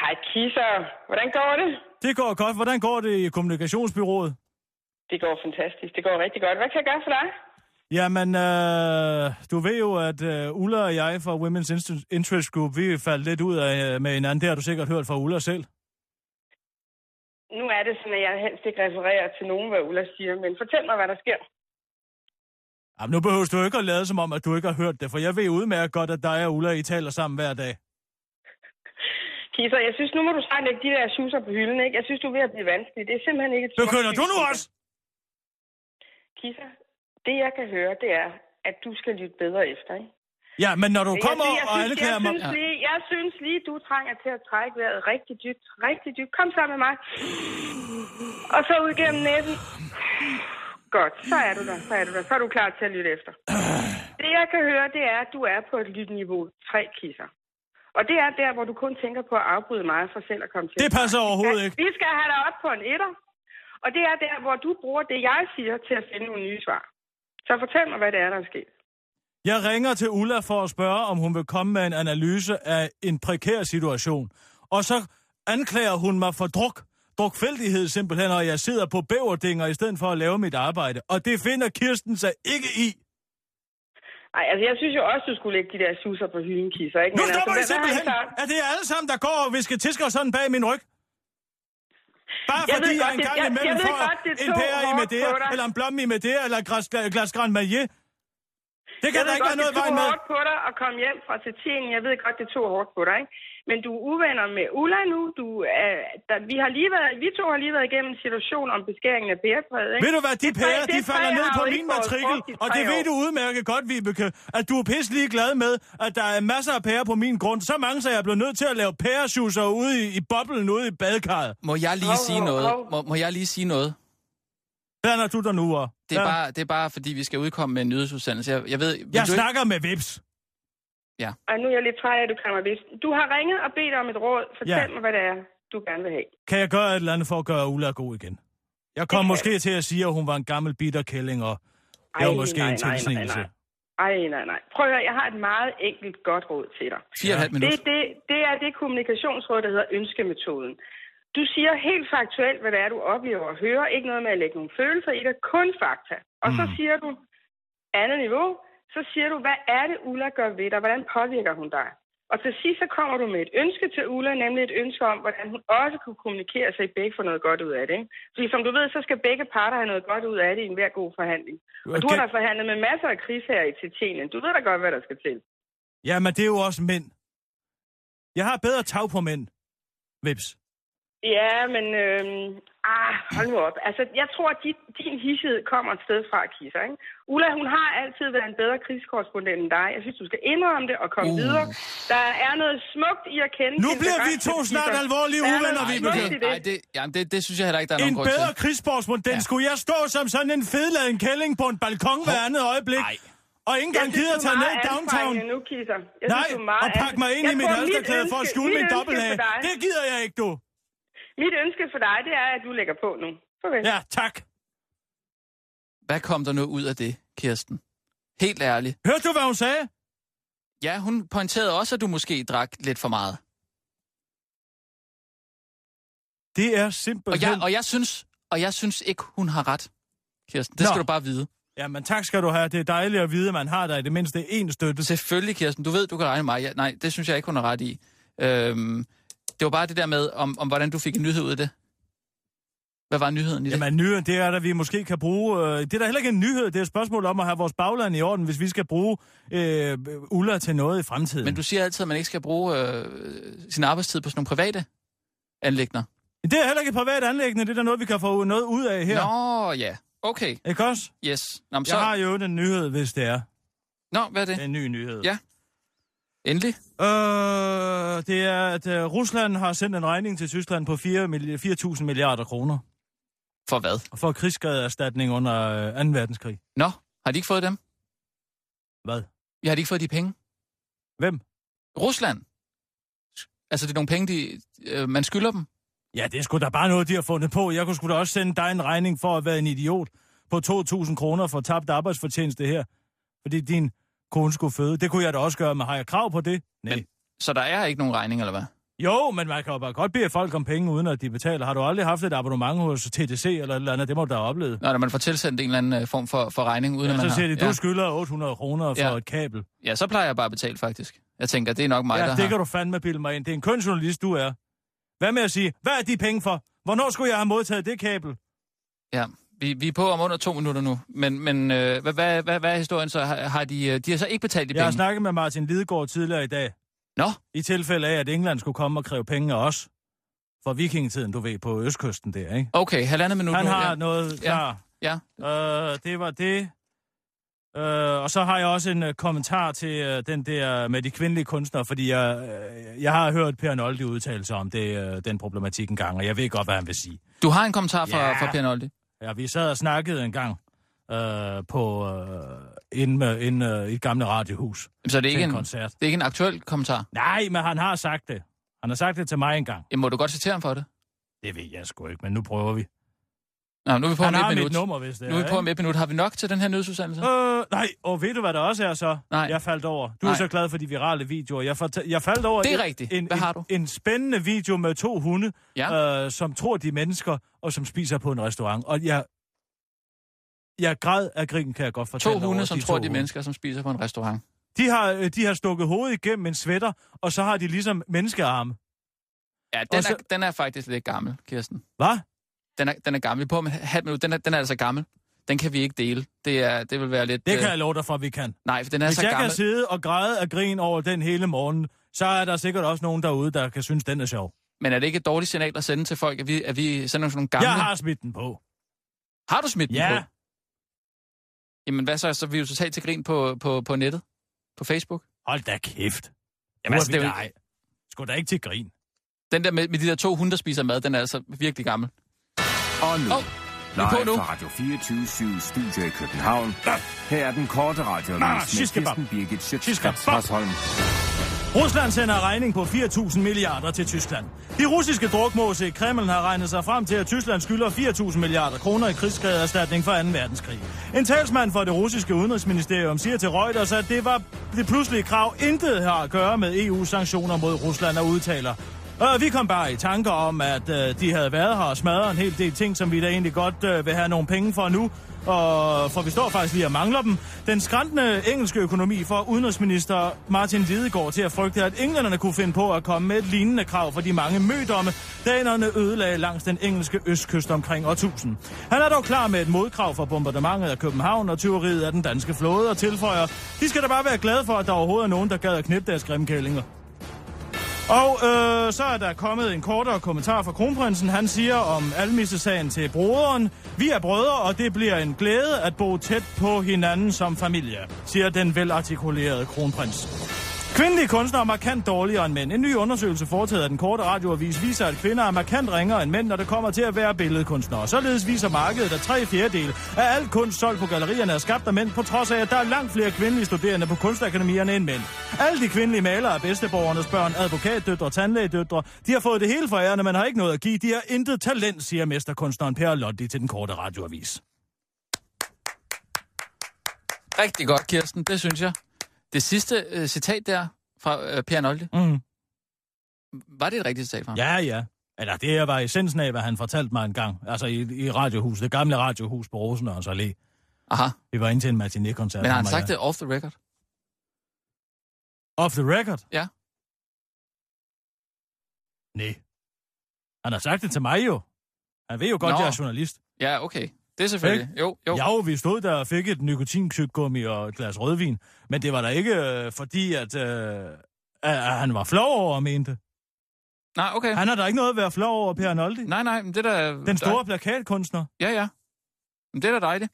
S8: Hej Kisser, hvordan går det?
S4: Det går godt. Hvordan går det i kommunikationsbyrået?
S8: Det går fantastisk, det går rigtig godt. Hvad kan jeg gøre for dig?
S4: Jamen, øh, du ved jo, at øh, Ulla og jeg fra Women's Inst- Interest Group, vi faldt lidt ud af, øh, med hinanden. Det har du sikkert hørt fra Ulla selv.
S8: Nu er det sådan, at jeg helst ikke refererer til nogen, hvad Ulla siger, men fortæl mig, hvad der sker.
S4: Jamen, nu behøver du ikke at lade som om, at du ikke har hørt det, for jeg ved udmærket godt, at dig og Ulla, I taler sammen hver dag.
S8: Kisser, jeg synes, nu må du snart lægge de der schusser på hylden, ikke? Jeg synes, du er ved at blive vanskelig. Det er simpelthen ikke et
S4: Begynder
S8: smukt
S4: du nu
S8: synspunkt.
S4: også?
S8: Kisser, det jeg kan høre, det er, at du skal lytte bedre efter, ikke?
S4: Ja, men når du kommer
S8: jeg, jeg,
S4: og
S8: synes-
S4: alle
S8: jeg,
S4: klæder mig...
S8: synes lige, jeg synes lige, du trænger til at trække vejret rigtig dybt, rigtig dybt. Kom så med mig. Og så ud gennem næsen. Godt, så er du der, så er du der. Så er du klar til at lytte efter. Det jeg kan høre, det er, at du er på et lytniveau 3 kisser. Og det er der, hvor du kun tænker på at afbryde mig for selv at komme til.
S4: Det passer overhovedet
S8: Ja,
S4: ikke.
S8: Vi skal have dig op på en etter. Og det er der, hvor du bruger det, jeg siger, til at finde nogle nye svar. Så fortæl mig, hvad det er, der er sket.
S4: Jeg ringer til Ulla for at spørge, om hun vil komme med en analyse af en prekær situation. Og så anklager hun mig for druk. Drukfældighed simpelthen, og jeg sidder på bæverdinger i stedet for at lave mit arbejde. Og det finder Kirsten sig ikke i.
S8: Ej, altså jeg synes jo også, du skulle lægge de der suser på hylden, Kisser, ikke?
S4: Nu stopper
S8: altså,
S4: I simpelthen! Er det jer alle sammen, der går og visker tisker sådan bag min ryg? Bare
S8: Jeg ved
S4: fordi jeg
S8: godt,
S4: en
S8: det-
S4: gang
S8: jeg- jeg
S4: imellem
S8: ved
S4: får
S8: godt, det
S4: en
S8: tog
S4: pære i
S8: hårdt
S4: med det,
S8: på dig.
S4: eller en blomme i med det, eller et glas, et glas Grand Marnier. Det kan
S8: jeg
S4: der
S8: ved
S4: ikke være
S8: godt,
S4: noget i
S8: det
S4: vejen
S8: tog
S4: med.
S8: hårdt på dig at komme hjem fra Tjetjenien. Jeg ved godt, det tog hårdt på dig, ikke? Men du er uvenner med Ulla nu. Du, øh, der, vi, har lige været, vi to har lige været igennem en situation om beskæringen af bærebrevet, ikke?
S4: Ved du hvad, de
S8: Det træ-
S4: pærer,
S8: det
S4: de falder
S8: træ
S4: ned
S8: har
S4: på
S8: jo
S4: min
S8: ikke fået
S4: matrikel,
S8: frugt i
S4: og
S8: tre
S4: det
S8: år.
S4: ved du udmærket godt, Vibeke, at du er pisselig glad med, at der er masser af pærer på min grund. Så mange, så jeg blev nødt til at lave pæresjuicer ude i, i boblen, ude i badekarret.
S6: Må jeg lige
S8: Hov,
S6: sige
S8: hov,
S6: noget?
S8: hov.
S6: Må, må jeg lige sige noget?
S4: Blander du dig nu, og?
S6: Det er, bare, det er bare, fordi vi skal udkomme med en nyhedsudsendelse. Jeg, jeg ved... vil
S4: Jeg
S6: du ikke-
S4: snakker med Vips.
S8: Ej, nu er jeg lidt træt af, at du kalder mig vist. Du har ringet og bedt om et råd. Fortæl
S4: Ja.
S8: mig, hvad det er, du gerne vil have.
S4: Kan jeg gøre et eller andet for at gøre Ulla god igen? Jeg kom
S8: kan
S4: måske til at sige, at hun var en gammel bitterkælling, og
S8: Ej,
S4: det var måske
S8: nej,
S4: en
S8: nej, nej,
S4: tilsnigelse.
S8: nej. Ej, nej, nej. Prøv at høre, jeg har et meget enkelt godt råd til dig.
S6: Fire og et halvt minut.
S8: Det, det, det er det kommunikationsråd, der hedder ønskemetoden. Du siger helt faktuelt, hvad det er, du oplever og hører. Ikke noget med at lægge nogle følelser i det, kun fakta. Og mm. så siger du, andet niveau, så siger du, hvad er det, Ulla gør ved dig? Hvordan påvirker hun dig? Og til sidst så kommer du med et ønske til Ulla, nemlig et ønske om, hvordan hun også kunne kommunikere, så I begge får noget godt ud af det. Ikke? Fordi som du ved, så skal begge parter have noget godt ud af det i enhver god forhandling. Og du har da forhandlet med masser af krigsherrer i Tietjenien. Du ved da godt, hvad der skal til.
S4: Ja, men det er jo også mænd. Jeg har bedre tag på mænd. Vips.
S8: Ja, men øh, ah, hold nu op. Altså, jeg tror, at din, din hissighed kommer et sted fra, Kisser. Ikke? Ulla, hun har altid været en bedre krigskorrespondent end dig. Jeg synes, du skal indrømme det og komme uh. videre. Der er noget smukt i at kende...
S4: Nu
S8: sin
S4: bliver vi to
S8: begejstring, Kisser.
S4: snart alvorlige
S8: Der er
S4: uvenner,
S8: noget
S4: Vibeke.
S8: smukt i det.
S6: Nej, det, jamen, det, det synes jeg heller ikke, der er
S4: En
S6: nogen grund
S4: bedre
S6: til.
S4: krigskorrespondent. Ja.
S6: Ja.
S4: Skulle jeg stå som sådan en fedladen kælling på en balkon hver andet øjeblik?
S6: Ej.
S4: Og ikke engang gider
S8: du er
S4: tage ned
S8: meget
S4: i downtown?
S8: anstrengende Nu, Kisser. Jeg
S4: Nej,
S8: du er meget
S4: og pakke mig ind
S8: anstrengende.
S4: i mit
S8: Jeg tror, mit
S4: halsterklæde for at
S8: ønske-
S4: skjule
S8: mit
S4: min
S8: ønske
S4: dobbelthage.
S8: for dig-
S4: Det gider jeg ikke, du.
S8: Mit ønske for dig, det er, at du lægger på nu. Farvel.
S4: Ja, tak.
S6: Hvad kom der nu ud af det, Kirsten? Helt ærligt.
S4: Hørte du, hvad hun sagde?
S6: Ja, hun pointerede også, at du måske drak lidt for meget.
S4: Det er simpelthen...
S6: Og jeg, og jeg, synes, og jeg synes ikke, hun har ret, Kirsten. Det
S4: Nå.
S6: Nå. skal du bare vide.
S4: Jamen tak skal du have. Det er dejligt at vide, at man har dig i det mindste én støtte.
S6: Selvfølgelig, Kirsten. Du ved, du kan regne med mig. Ja, nej, det synes jeg ikke, hun har ret i. Øhm, det var bare det der med, om, om hvordan du fik en nyhed ud af det. Hvad var nyheden i det?
S4: Jamen nyheden, det er der, vi måske kan bruge... Øh, det er da heller ikke en nyhed. Det er et spørgsmål om at have vores bagland i orden, hvis vi skal bruge øh, Ulla til noget i fremtiden.
S6: Men du siger altid, at man ikke skal bruge øh, sin arbejdstid på sådan nogle private anlægner.
S4: Det er heller ikke et privat anlæggende. Det er da noget, vi kan få noget ud af her.
S6: Nå, ja. Okay,
S4: Ikke også?
S6: yes. Nå, men
S4: Jeg
S6: så...
S4: har jo en nyhed, hvis det er.
S6: Nå, hvad er det?
S4: En ny nyhed.
S6: Ja. Endelig.
S4: Øh, det er, at øh, Rusland har sendt en regning til Tyskland på 4 milli- 4.000 milliarder kroner
S6: For hvad?
S4: for krigsskadeerstatning under øh, 2. verdenskrig.
S6: Nå, har de ikke fået dem?
S4: Hvad?
S6: Ja, har de ikke fået de penge?
S4: Hvem?
S6: Rusland. Altså, det er nogle penge, de, øh, man skylder dem.
S4: Ja, det er sgu da bare noget, de har fundet på. Jeg kunne sgu da også sende dig en regning for at være en idiot på 2.000 kroner for tabt arbejdsfortjeneste her, fordi din kone skulle føde. Det kunne jeg da også gøre, men har jeg krav på det? Nej. Men...
S6: Men- Så der er ikke nogen regning, eller hvad?
S4: Jo, men man kan jo bare godt bede folk om penge, uden at de betaler. Har du aldrig haft et abonnement hos TDC eller et eller andet? Det må du da have oplevet.
S6: Når man får tilsendt en eller anden øh, form for, for regning, uden
S4: Ja,
S6: at man
S4: så siger
S6: har...
S4: de, du
S6: ja.
S4: skylder 800 kroner for
S6: Ja.
S4: et kabel.
S6: ja, så plejer jeg bare at betale, faktisk. Jeg tænker, det er nok mig,
S4: ja,
S6: der
S4: det
S6: har...
S4: kan du fandme bilde mig ind. Det er en kønsjournalist, du er. Hvad med at sige, hvad er de penge for? Hvornår skulle jeg have modtaget det kabel?
S6: Ja, vi, vi er på om under to minutter nu. Men, men øh, hvad, hvad, hvad, hvad er historien så? Har, har de, øh, de har så ikke betalt de
S4: Jeg har
S6: penge?
S4: snakket med Martin Lidegaard tidligere i dag,
S6: Nå,
S4: i tilfælde af, at England skulle komme og kræve penge af os. For vikingetiden, du ved, på østkysten der, ikke?
S6: okay, halvandet minut
S4: Han
S6: nu.
S4: har
S6: ja.
S4: noget klar.
S6: ja.
S4: Øh, det var det. Øh, og så har jeg også en øh, kommentar til øh, den der med de kvindelige kunstnere, fordi jeg, øh, jeg har hørt Per Noldi udtale sig om det, øh, den problematik en gang, og jeg ved godt, hvad han vil sige.
S6: Du har en kommentar fra,
S4: Ja.
S6: fra Per Noldi.
S4: Ja, vi sad og snakkede en gang øh, på øh, inde, med, inde øh, i et gamle radiohus.
S6: Jamen, Så er
S4: Til
S6: det ikke
S4: en
S6: en,
S4: koncert.
S6: det er ikke en aktuel kommentar.
S4: Nej, men han har sagt det. Han har sagt det til mig en gang.
S6: Jamen, må du godt citere ham for det?
S4: Det ved jeg sgu ikke, men nu prøver vi.
S6: Nå, nu er vi på
S4: Han
S6: om
S4: har
S6: et minut.
S4: mit nummer, hvis det
S6: nu er vi på om
S4: ikke?
S6: et minut. Har vi nok til den her nødsudsendelse?
S4: Øh, nej, og ved du, hvad der også er så?
S6: Nej.
S4: Jeg faldt over. Du er
S6: Nej.
S4: så glad for de virale videoer. Jeg, forta- jeg faldt over...
S6: Det er
S4: en-
S6: rigtigt.
S4: En,
S6: Hvad
S4: en,
S6: har du?
S4: En spændende video med to hunde,
S6: Ja.
S4: øh, som tror, de er mennesker, og som spiser på en restaurant. Og jeg... Jeg græd af grin, kan jeg godt fortælle
S6: To hunde,
S4: over
S6: som
S4: de
S6: tror,
S4: to
S6: de er
S4: hunde.
S6: mennesker, som spiser på en restaurant.
S4: De har, øh, de har stukket hovedet igennem en sweater, og så har de ligesom menneskearme.
S6: Ja, den,
S4: Og så-
S6: er, den er faktisk lidt gammel, Kirsten.
S4: Hvad?
S6: Den er, den er gammel. Vi er på om et halvt minut. Den er, den er altså gammel. Den kan vi ikke dele. Det, er, det vil være lidt...
S4: Det kan
S6: øh,
S4: jeg love dig for, vi kan.
S6: Nej, for den er
S4: Hvis
S6: så
S4: jeg
S6: gammel.
S4: kan sidde og græde af grin over den hele morgen, så er der sikkert også nogen derude, der kan synes, den er sjov.
S6: Men er det ikke et dårligt signal at sende til folk, at vi, at vi sender sådan nogle gamle...
S4: Gamle. Jeg har smidt den på.
S6: har du smidt den
S4: Ja.
S6: på? Jamen hvad så? Så er vi jo totalt til grin på, på, på nettet? På Facebook?
S4: Hold da kæft. Nu
S6: Jamen, altså,
S4: er
S6: det
S4: vi
S6: er jo
S4: dig. Sgu da ikke til grin.
S6: Den der med, med de der to hunde, der spiser mad, den er altså virkelig gammel.
S5: Og nu,
S6: Åh,
S5: oh,
S6: vi er på
S5: live
S6: nu.
S5: fra Radio 24 Studio i København. Her er den korte radiovis med
S4: shiskebab.
S5: Kirsten Birgit
S4: Shiskebab.
S5: Schøtzgrads Hasholm.
S4: Rusland sender regning på 4.000 milliarder til Tyskland. De russiske drukmåse i Kreml har regnet sig frem til, at Tyskland skylder 4.000 milliarder kroner i krigsskadeerstatning for 2. verdenskrig. En talsmand for det russiske udenrigsministerium siger til Reuters, E at det var det pludselige krav intet har at gøre med EU's sanktioner mod Rusland og udtaler. Øh, vi kom bare i tanker om, at øh, de havde været her og smadret en hel del ting, som vi da egentlig godt øh, vil have nogle penge for nu. Og for vi står faktisk lige og mangler dem. Den skræntende engelske økonomi får udenrigsminister Martin Lidegaard til at frygte, at englænderne kunne finde på at komme med et lignende krav for de mange mødomme, danerne ødelagde langs den engelske østkyst omkring årtusind. Han er dog klar med et modkrav for bombardementet af København og tyveriet af den danske flåde og tilføjer, de skal da bare være glade for, at der overhovedet er nogen, der gad at knippe deres grimkællinger. Og øh, så er der kommet en kortere kommentar fra kronprinsen. Han siger om almissesagen til broderen. Vi er brødre, og det bliver en glæde at bo tæt på hinanden som familie, siger den velartikulerede kronprins. Kvindelige kunstnere er markant dårligere end mænd. En ny undersøgelse foretaget af den korte radioavis viser, at kvinder er markant ringere end mænd, når det kommer til at være billedkunstnere. Således viser markedet, at tre fjerdedel af al kunst solgt på gallerierne er skabt af mænd, på trods af, at der er langt flere kvindelige studerende på kunstakademierne end mænd. Alle de kvindelige malere er bedsteborgernes børn, advokatdøtre, tandlægedøtre. De har fået det hele for ærerne, men har ikke noget at give. De har intet talent, siger mesterkunstneren Per Lotti til den korte radioavis.
S6: Rigtig godt, Kirsten, det synes jeg. Det sidste øh, citat der fra øh, Per Nolde,
S4: Mm.
S6: var det et rigtigt citat fra ham?
S4: Ja, ja. Eller det var essensen af, hvad han fortalte mig engang. Altså i, i radiohuset, det gamle radiohus på Rosenørns Allé.
S6: Aha,
S4: Vi var inde til en matinee-koncert.
S6: men har han
S4: ham og
S6: sagt
S4: jeg.
S6: det off the record?
S4: Off the record?
S6: Ja.
S4: Nej. Han har sagt det til mig jo. Han ved jo godt,
S6: Nå.
S4: Nå. jeg er journalist.
S6: Ja, okay. Det er selvfølgelig. Jo, jo.
S4: Jo. jo, vi stod der og fik et nikotintyggegummi og et glas rødvin. Men det var da ikke øh, fordi, at, øh, at at han var flov over, mente.
S6: Nej, okay.
S4: Han har da ikke noget at være flov over, Per Noldi.
S6: Nej, nej, men det er da...
S4: Den store plakatkunstner.
S6: Ja, ja. Men det er da dejligt.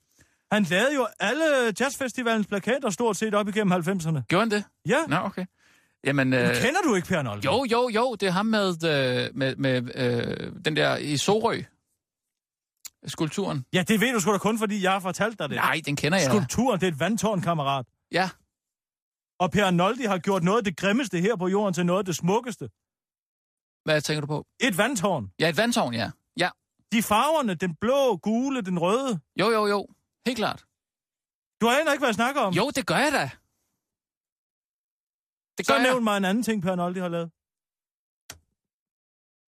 S4: Han lavede jo alle jazzfestivalens plakater stort set op igennem 90'erne.
S6: Gjorde han det?
S4: Ja,
S6: Nå, okay. Jamen, øh,
S4: øh... kender du ikke Per Noldi?
S6: jo, jo, jo, det er ham med, øh, med, med øh, den der i Sorø. Skulpturen.
S4: Ja, det ved du sgu da kun, fordi jeg har fortalt dig det.
S6: Nej, den kender jeg. da.
S4: Skulpturen, det er et vandtårn, kammerat.
S6: Ja,
S4: Og Per Noldi har gjort noget af det grimmeste her på jorden til noget af det smukkeste.
S6: hvad tænker du på?
S4: Et vandtårn.
S6: Ja, et vandtårn, ja. Ja,
S4: De farverne, den blå, gule, den røde.
S6: jo, jo, jo. Helt klart.
S4: Du aner ikke, hvad jeg snakker om.
S6: Jo, det gør jeg da. Det
S4: Så
S6: gør jeg.
S4: nævn mig en anden ting, Per Noldi har lavet.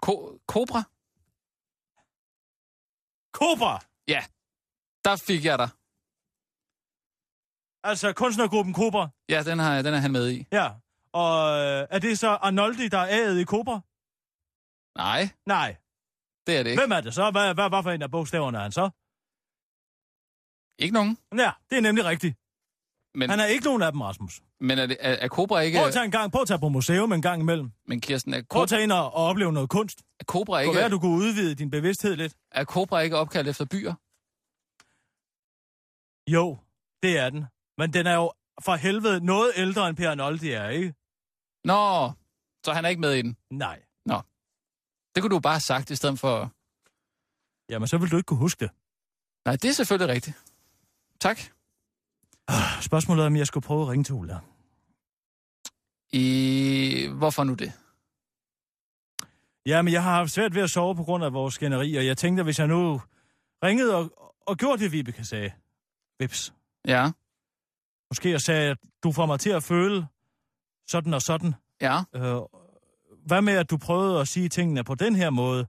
S6: Ko- Cobra.
S4: Cobra!
S6: Der fik jeg dig.
S4: Altså kunstnergruppen Cobra.
S6: Ja, den, har, den er han med i.
S4: Ja. Og øh, er det så Arnoldi, der er aget i Cobra?
S6: Nej,
S4: Nej.
S6: det er det ikke.
S4: Hvem er det så? Hvad, hvad, hvad for en af bogstaverne er han så?
S6: Ikke nogen.
S4: Ja, det er nemlig rigtigt.
S6: Men,
S4: Han er ikke nogen af dem, Rasmus.
S6: men er, det, er, er Cobra ikke...
S4: Prøv at tage en gang, prøv at tage på museum en gang imellem.
S6: Men Kirsten, er
S4: Prøv at
S6: Cobra,
S4: tage ind og, og opleve noget kunst. Det
S6: er Cobra
S4: kunne være,
S6: ikke,
S4: du kunne udvide din bevidsthed lidt.
S6: er Cobra ikke opkaldt efter byer?
S4: Jo, det er den. Men den er jo for helvede noget ældre end Per Arnoldi er, ikke?
S6: Nå, så han er ikke med i den.
S4: Nej.
S6: Det kunne du bare have sagt i stedet for...
S4: Jamen, så vil du ikke kunne huske det.
S6: Nej, det er selvfølgelig rigtigt. Tak.
S4: Spørgsmålet er, om jeg skulle prøve at ringe til Ulla.
S6: I... Hvorfor nu det?
S4: Jamen, jeg har haft svært ved at sove på grund af vores skænderi, og jeg tænkte, at hvis jeg nu ringede og, og gjorde det, Vibeke sagde, Vips,
S6: Ja,
S4: måske jeg sagde, at du får mig til at føle sådan og sådan.
S6: ja.
S4: Øh, hvad med, at du prøvede at sige tingene på den her måde?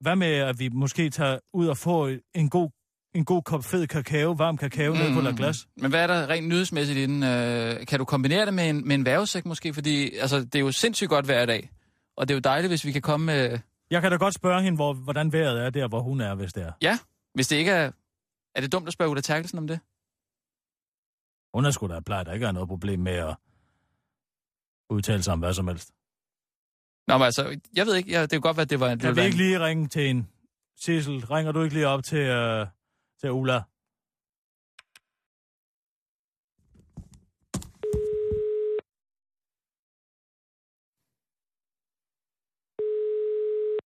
S4: Hvad med, at vi måske tager ud og får en god, en god kop fed kakao, varm kakao, mm. ned på et glas?
S6: Men hvad er der rent nyhedsmæssigt i den? Øh, kan du kombinere det med en, med en værvesæk måske? Fordi altså, det er jo sindssygt godt hver dag. Og det er jo dejligt, hvis vi kan komme med...
S4: Jeg kan da godt spørge hende, hvor, hvordan vejret er der, hvor hun er, hvis det er.
S6: Hvis det ikke er... Er det dumt at spørge Ulla Terkelsen om det?
S4: Hun er sgu da plejer, der ikke er noget problem med at udtale sig om hvad som helst.
S6: Nå, men altså, jeg ved ikke. Jeg, det kunne godt være, at det var... Det
S4: Jeg vil
S6: ville være
S4: ikke
S6: en,
S4: lige ringe til en. Sissel, ringer du ikke lige op til, øh, til Ulla?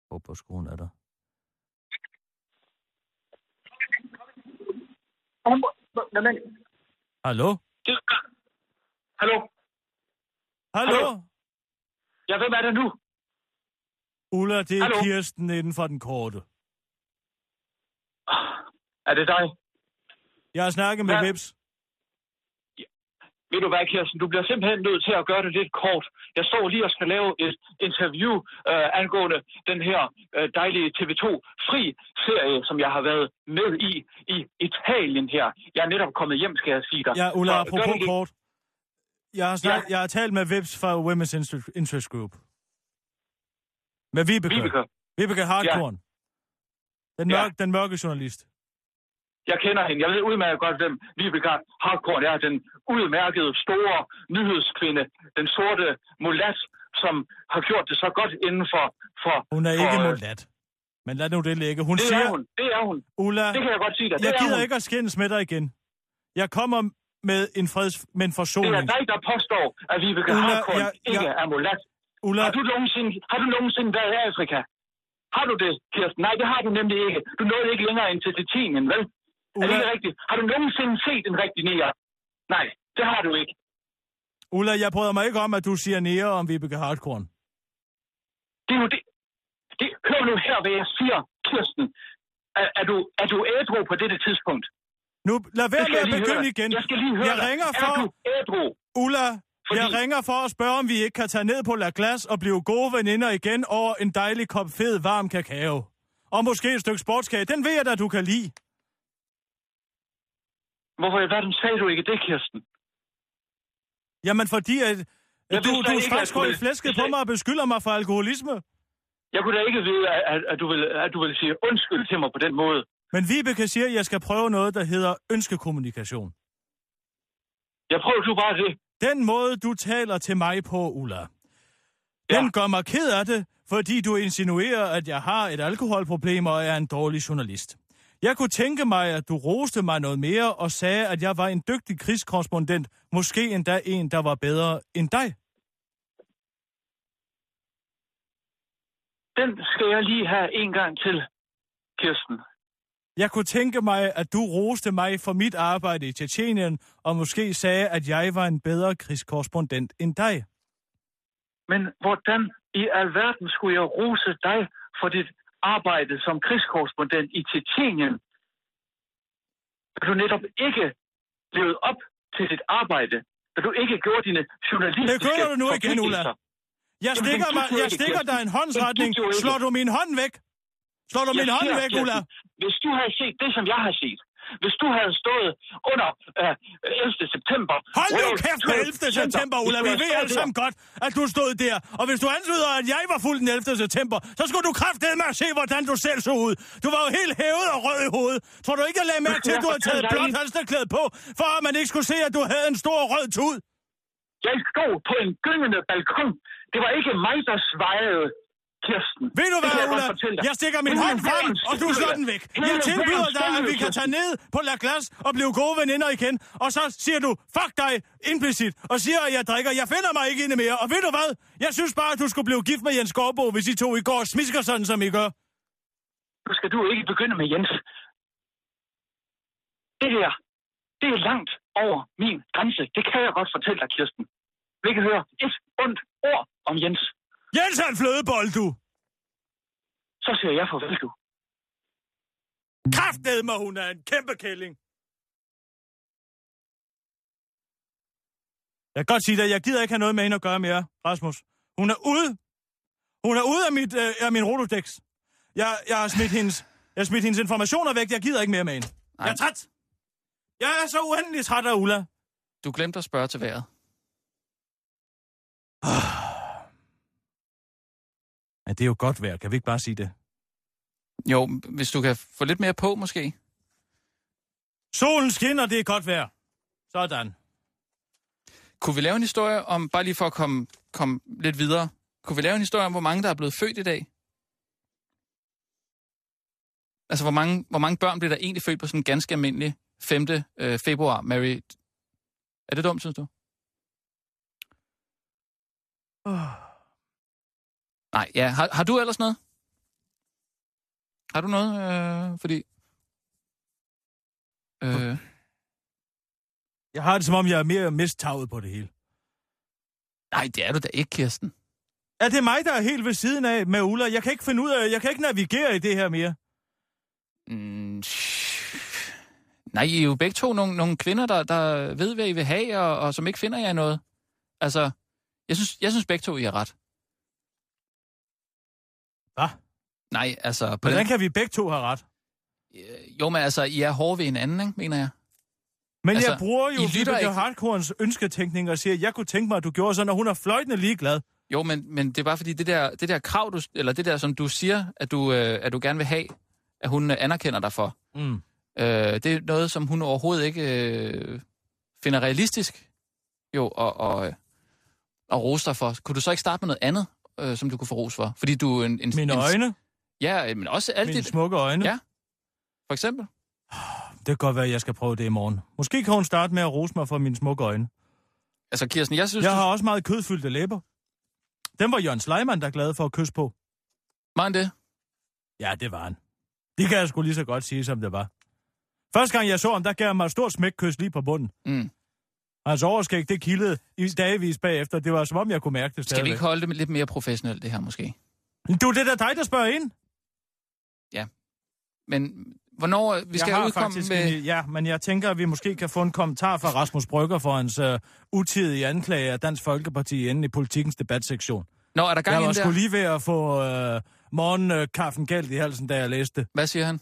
S4: Hvor på skolen er der?
S9: Jamen,
S4: Hallo?
S9: det... Hallo?
S4: Hallo?
S9: Ja, hvem er det nu?
S4: Ulla, det er
S9: Hallo?
S4: Kirsten inden for den korte.
S9: Er det dig?
S4: Jeg har snakket med
S9: Hvad?
S4: Vips.
S9: Ved du hvad, Kirsten, du bliver simpelthen nødt til at gøre det lidt kort. Jeg står lige og skal lave et interview øh, angående den her øh, dejlige TV2-fri serie, som jeg har været med i i Italien her. Jeg er netop kommet hjem, skal jeg sige dig. *laughs*
S4: Ja, Ulla,
S9: Så gør
S4: apropos
S9: det lidt-
S4: kort. Jeg har, snak, jeg har talt med Vips fra Women's Inter- Interest Group. Med Vibeke.
S9: Vibeke,
S4: Vibeke Hartkorn. Den,
S9: Ja.
S4: mørke, den mørke journalist.
S9: Jeg kender hende. Jeg ved udmærket godt, hvem Vibeke Harcourt er. Den udmærkede, store nyhedskvinde. Den sorte mulat, som har gjort det så godt inden for... for
S4: Hun er
S9: for,
S4: ikke
S9: øh,
S4: modat. Men lad nu det ligge. Hun
S9: Det
S4: siger,
S9: er hun. Det er hun.
S4: Ulla,
S9: Det kan jeg godt sige dig. Det
S4: jeg
S9: er
S4: gider
S9: hun.
S4: ikke at skændes med dig igen. Jeg kommer med en freds... Men
S9: Det er
S4: forsoning.
S9: dig, der påstår, at Vibeke
S4: Ulla,
S9: Harcourt
S4: jeg-
S9: ikke
S4: jeg-
S9: er mulat.
S4: Ulla,
S9: Har du, nogensinde, har du nogensinde været i Afrika? Har du det, Kirsten? Nej, det har du nemlig ikke. Du nåede ikke længere end til Titanien, vel? Er det
S4: Ulla,
S9: ikke rigtigt? Har du nogensinde set en rigtig niger? Nej, det har du ikke.
S4: Ulla, jeg bryder mig ikke om, at du siger nære om Vibeke Hartkorn.
S9: Det er jo det. det hør nu her, hvad jeg siger, Kirsten. Er, er, du, er du ædru på dette tidspunkt?
S4: Nu, lad være med
S9: jeg
S4: at
S9: lige
S4: begynde
S9: høre.
S4: igen.
S9: Jeg skal lige høre
S4: jeg
S9: dig.
S4: ringer
S9: Er
S4: for...
S9: du ædru?
S4: Ulla, Fordi...
S9: Fordi-
S4: jeg ringer for at spørge, om vi ikke kan tage ned på La Glace og blive gode veninder igen over en dejlig kop fed, varm kakao. Og måske et stykke sportskage. Den ved jeg da, du kan lide.
S9: Hvorfor i verden sagde du ikke det, Kirsten?
S4: Jamen, fordi at, at du,
S9: vidste
S4: du
S9: ikke,
S4: straks
S9: at
S4: går
S9: du-
S4: i flæsket
S9: jeg
S4: på
S9: sagde-
S4: mig og beskylder mig for alkoholisme.
S9: Jeg kunne da ikke vide, at, at, du ville, at du ville sige undskyld til mig på den måde.
S4: Men Vibeke siger, at jeg skal prøve noget, der hedder ønskekommunikation.
S9: Jeg prøver du bare det.
S4: Den måde, du taler til mig på, Ulla,
S9: Ja.
S4: den gør mig ked af det, fordi du insinuerer, at jeg har et alkoholproblem og er en dårlig journalist. Jeg kunne tænke mig, at du roste mig noget mere og sagde, at jeg var en dygtig krigskorrespondent, måske endda en, der var bedre end dig.
S9: Den skal jeg lige have en gang til, Kirsten.
S4: Jeg kunne tænke mig, at du roste mig for mit arbejde i Tjetjenien, og måske sagde, at jeg var en bedre krigskorrespondent end dig.
S9: Men hvordan i alverden skulle jeg rose dig for dit arbejde som krigskorrespondent i Tjetjenien? Da du netop ikke levede op til dit arbejde, da du ikke gjorde dine journalistiske
S4: Begynder du nu igen,
S9: forpligtelser.
S4: Ulla? Jeg
S9: Jamen,
S4: stikker,
S9: den gik jo
S4: mig, jeg
S9: ikke,
S4: stikker
S9: Kirsten.
S4: dig en håndsretning.
S9: Den gik jo ikke.
S4: Slår du min hånd væk? Slår du min
S9: Jeg
S4: hånd
S9: ser,
S4: væk,
S9: Kirsten,
S4: Ulla?
S9: Hvis du havde set det, som jeg har set, hvis du havde stået under øh, 11. september...
S4: Hold nu
S9: Rød-
S4: kæft med 11. september,
S9: Hvis
S4: Ulla.
S9: du
S4: Vi
S9: havde
S4: ved
S9: stået
S4: alle
S9: der-
S4: sammen godt, at du stod der. Og hvis du antyder, at jeg var fuld den 11. september, så skulle du kraftedeme med at se, hvordan du selv så ud. Du var jo helt hævet og rød i hovedet. Tror du ikke, jeg lagde mærke
S9: skal
S4: til, at
S9: jeg
S4: du havde
S9: fortælle
S4: taget
S9: dig
S4: blåt
S9: en-
S4: halsterklæde på, for at man ikke skulle se, at du havde en stor rød tud?
S9: Jeg stod på en gyngende balkon. Det var ikke mig, der svajede Kirsten.
S4: Ved du
S9: Det
S4: hvad,
S9: kan jeg godt
S4: Ulla?
S9: fortælle dig.
S4: Jeg stikker min
S9: Hele
S4: hånd frem,
S9: verdens
S4: og du
S9: skyld,
S4: slår
S9: Ulla.
S4: den væk.
S9: Hele
S4: Jeg tilbyder
S9: verdens
S4: dig, at
S9: skyld,
S4: vi kan
S9: Kirsten.
S4: tage ned på La Glace og blive gode veninder igen. Og så siger du, fuck dig, implicit, og siger, at jeg drikker. Jeg finder mig ikke inde mere. Og ved du hvad? Jeg synes bare, at du skulle blive gift med Jens Skorbo, hvis I to i går smisker sådan, som I gør.
S9: Nu skal du ikke begynde med Jens. Det der, det er langt over min grænse. Det kan jeg godt fortælle dig, Kirsten. Vi kan høre et ondt ord om Jens.
S4: Jens er en flødebold, du.
S9: Så siger jeg farvel, du.
S4: Kraftedme, mig, hun er en kæmpe kælling. Jeg kan godt sige dig, jeg gider ikke have noget med hende at gøre mere, Rasmus. Hun er ude. Hun er ude af, mit, øh, af min Rolodex. Jeg, jeg har smidt hendes, jeg har smidt hendes informationer væk. Jeg gider ikke mere med hende.
S6: Nej.
S4: Jeg er træt. Jeg er så uendelig træt af Ulla.
S6: Du glemte at spørge til vejret.
S4: Men det er jo godt vejr. Kan vi ikke bare sige det?
S6: Jo, hvis du kan få lidt mere på, måske.
S4: Solen skinner, det er godt vejr. Sådan.
S6: Kunne vi lave en historie om, bare lige for at komme, komme lidt videre, kunne vi lave en historie om, hvor mange der er blevet født i dag? Altså, hvor mange, hvor mange børn blev der egentlig født på sådan en ganske almindelig 5. Øh, februar, Mary? Er det dumt, synes du? Nej, ja. Har, har du ellers noget? Har du noget? Øh, fordi... Øh,
S4: Jeg har det, som om jeg er mere mistaget på det hele.
S6: nej, det er du da ikke, Kirsten.
S4: Er det mig, der er helt ved siden af med Ulla? Jeg kan ikke finde ud af, jeg kan ikke navigere i det her mere.
S6: Mm, Nej, I er jo begge to nogle, nogle kvinder, der, der ved, hvad I vil have, og, og som ikke finder jer i noget. Altså, jeg synes, jeg synes begge to, I har ret.
S4: Hvad?
S6: Nej, altså... På
S4: Hvordan
S6: den,
S4: kan vi begge to have ret?
S6: øh, jo, men altså, I er hårde ved hinanden, ikke, mener jeg.
S4: Men altså,
S6: Altså,
S4: jeg bruger
S6: I
S4: jo
S6: lytter
S4: Vibeke
S6: ikke.
S4: Hardkorns ønsketænkning og siger, jeg kunne tænke mig, at du gjorde sådan, og hun er fløjtende ligeglad.
S6: Jo, men, men det er bare fordi, det der, det der krav, du, eller det der, som du siger, at du, øh, at du gerne vil have, at hun øh, anerkender dig for,
S4: Mm.
S6: øh, det er noget, som hun overhovedet ikke øh, finder realistisk, jo, og, og, øh, og rose dig for. Kunne du så ikke starte med noget andet, øh, som du kunne få ros for? Fordi du er en, en,
S4: Mine
S6: en,
S4: øjne,
S6: Ja, øh, men også alt
S4: mine
S6: det,
S4: smukke øjne.
S6: Ja. for eksempel.
S4: Det kan godt være, at jeg skal prøve det i morgen. Måske kan hun starte med at rose mig for mine smukke øjne.
S6: Altså, Kirsten, jeg synes,
S4: Jeg
S6: du-
S4: har også meget kødfyldte læber. Dem var Jørgen Sleiman, der glad for at kysse på.
S6: Var han det?
S4: Ja, det var han. Det kan jeg sgu lige så godt sige, som det var. Første gang jeg så ham, der gav han mig et stort smækkys lige på bunden.
S6: Mm.
S4: Hans overskæg, det kildede i dagevis bagefter. Det var som om, jeg kunne mærke det
S6: Skal vi
S4: stadigvæk.
S6: ikke holde det lidt mere professionelt, det her måske?
S4: Du, det er da dig, der spørger ind.
S6: Men hvornår... øh, Vi skal
S4: jeg har
S6: udkomme
S4: faktisk
S6: med...
S4: en, Ja, men jeg tænker, at vi måske kan få en kommentar fra Rasmus Brygger for hans uh, utidige anklage af Dansk Folkeparti inde i politikens debatsektion.
S6: Nå, er der
S4: Jeg
S6: gang
S4: var
S6: ind
S4: sgu
S6: der?
S4: lige ved at få uh, morgenkaffen galt i halsen, da jeg læste det.
S6: Hvad siger han?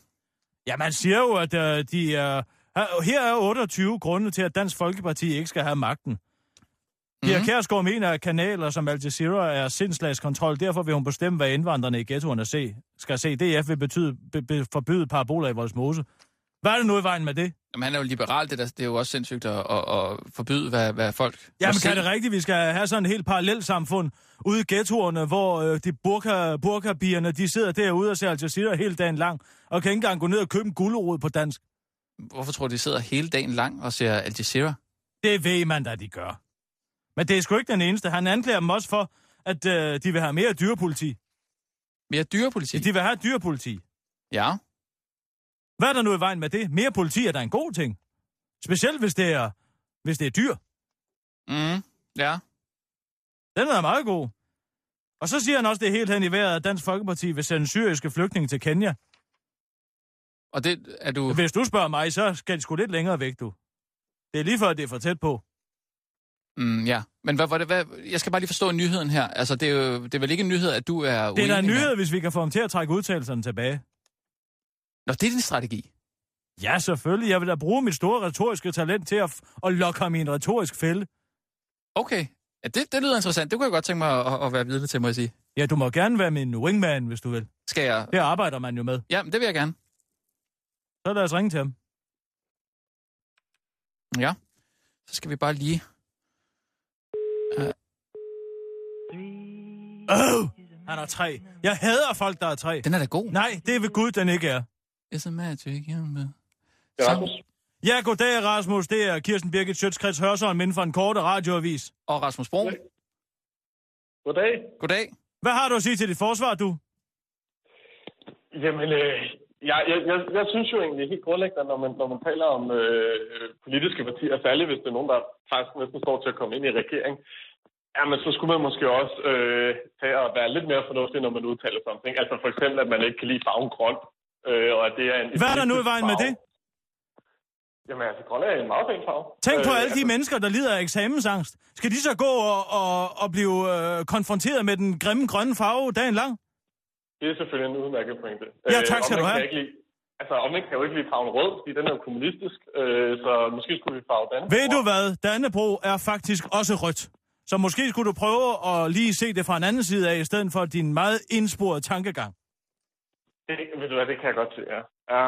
S4: Ja, man siger jo, at uh, de er... Uh, her er 28 grunde til, at Dansk Folkeparti ikke skal have magten. Pia
S6: Mhm.
S4: mm-hmm. Kærsgaard mener, at kanaler som Al Jazeera er sindslagskontrol. Derfor vil hun bestemme, hvad indvandrerne i ghettoerne se, skal se. DF vil betyde, be, be, forbyde paraboler i Voldsmose. Hvad er det nu i vejen med det?
S6: Jamen, han er jo liberal, det, der, det er jo også sindssygt at, at, at forbyde, hvad, hvad folk...
S4: Jamen,
S6: må se.
S4: kan det rigtigt? Vi skal have sådan et helt parallelt samfund ude i ghettoerne, hvor øh, de burka, burkabierne, de sidder derude og ser Al Jazeera hele dagen lang, og kan ikke engang gå ned og købe en gulerod på dansk.
S6: Hvorfor tror du, de sidder hele dagen lang og ser Al Jazeera?
S4: Det ved man da, de gør. Men det er sgu ikke den eneste. Han anklager dem også for, at øh, de vil have mere dyrepoliti.
S6: Mere dyrepoliti?
S4: De vil have dyrepoliti.
S6: Ja.
S4: Hvad er der nu i vejen med det? Mere politi er da en god ting. Specielt hvis det er, hvis det er dyr.
S6: Mm. Ja.
S4: Den er meget god. Og så siger han også, det er helt hen i vejret, at Dansk Folkeparti vil sende syriske flygtninge til Kenya.
S6: Og det er du...
S4: Hvis du spørger mig, så skal de sgu lidt længere væk, du. Det er lige før, det er for tæt på.
S6: Mm, ja. Men hvad, hvad, hvad, jeg skal bare lige forstå nyheden her. Altså, det er, jo, det er vel ikke en nyhed, at du er
S4: Det er da en
S6: uenig med-
S4: nyhed, hvis vi kan få ham til at trække udtalelserne tilbage.
S6: Nå, det er din strategi.
S4: Ja, selvfølgelig. Jeg vil da bruge mit store retoriske talent til at, f- at lokke ham i en retorisk fælde.
S6: Okay. Ja, det, det lyder interessant. Det kunne jeg godt tænke mig at, at, at være vidne til, må jeg sige.
S4: Ja, du må gerne være min wingman, hvis du vil.
S6: Skal jeg...
S4: Det arbejder man jo med.
S6: Ja, men det vil jeg gerne.
S4: Så lad os ringe til ham.
S6: Ja. Så skal vi bare lige...
S4: Åh, han er tre. Jeg hader folk, der er tre.
S6: Den er da god.
S4: Nej, det er ved Gud, den ikke er.
S6: It's a magic number.
S8: Det er Rasmus.
S4: Ja, goddag, Rasmus. Det er Kirsten Birgit Sjøtskrets Hørsholm inden for en korte radioavis.
S6: Og Rasmus Broen.
S8: Goddag.
S6: Goddag.
S4: Hvad har du at sige til dit forsvar, du?
S8: Jamen, øh, jeg, jeg, jeg, jeg synes jo egentlig helt grundlæggende, når man, når man taler om øh, øh, politiske partier, særligt hvis det er nogen, der faktisk næsten står til at komme ind i regering, jamen så skulle man måske også øh, tage og være lidt mere fornuftig, når man udtaler sådan ting. Altså for eksempel, at man ikke kan lide farven grøn, øh, og at det er en...
S4: Hvad er der nu i vejen med
S8: farve.
S4: det?
S8: Jamen altså, grøn er en meget fin farve.
S4: Tænk på alle de
S8: altså,
S4: mennesker, der lider af eksamensangst. Skal de så gå og, og, og blive øh, konfronteret med den grimme grønne farve dagen lang?
S8: Det er selvfølgelig en udmærket pointe. Øh,
S4: Ja, tak skal
S8: og man
S4: du have.
S8: kan ikke lide- Altså, om ikke kan jo ikke lide farven rød, fordi den er jo kommunistisk, øh, så måske skulle vi farve den.
S4: Ved du hvad? Dannebro er faktisk også rødt. Så måske skulle du prøve at lige se det fra en anden side af, i stedet for din meget indsporede tankegang.
S8: Det, ved du hvad, det kan jeg godt se, ja. ja.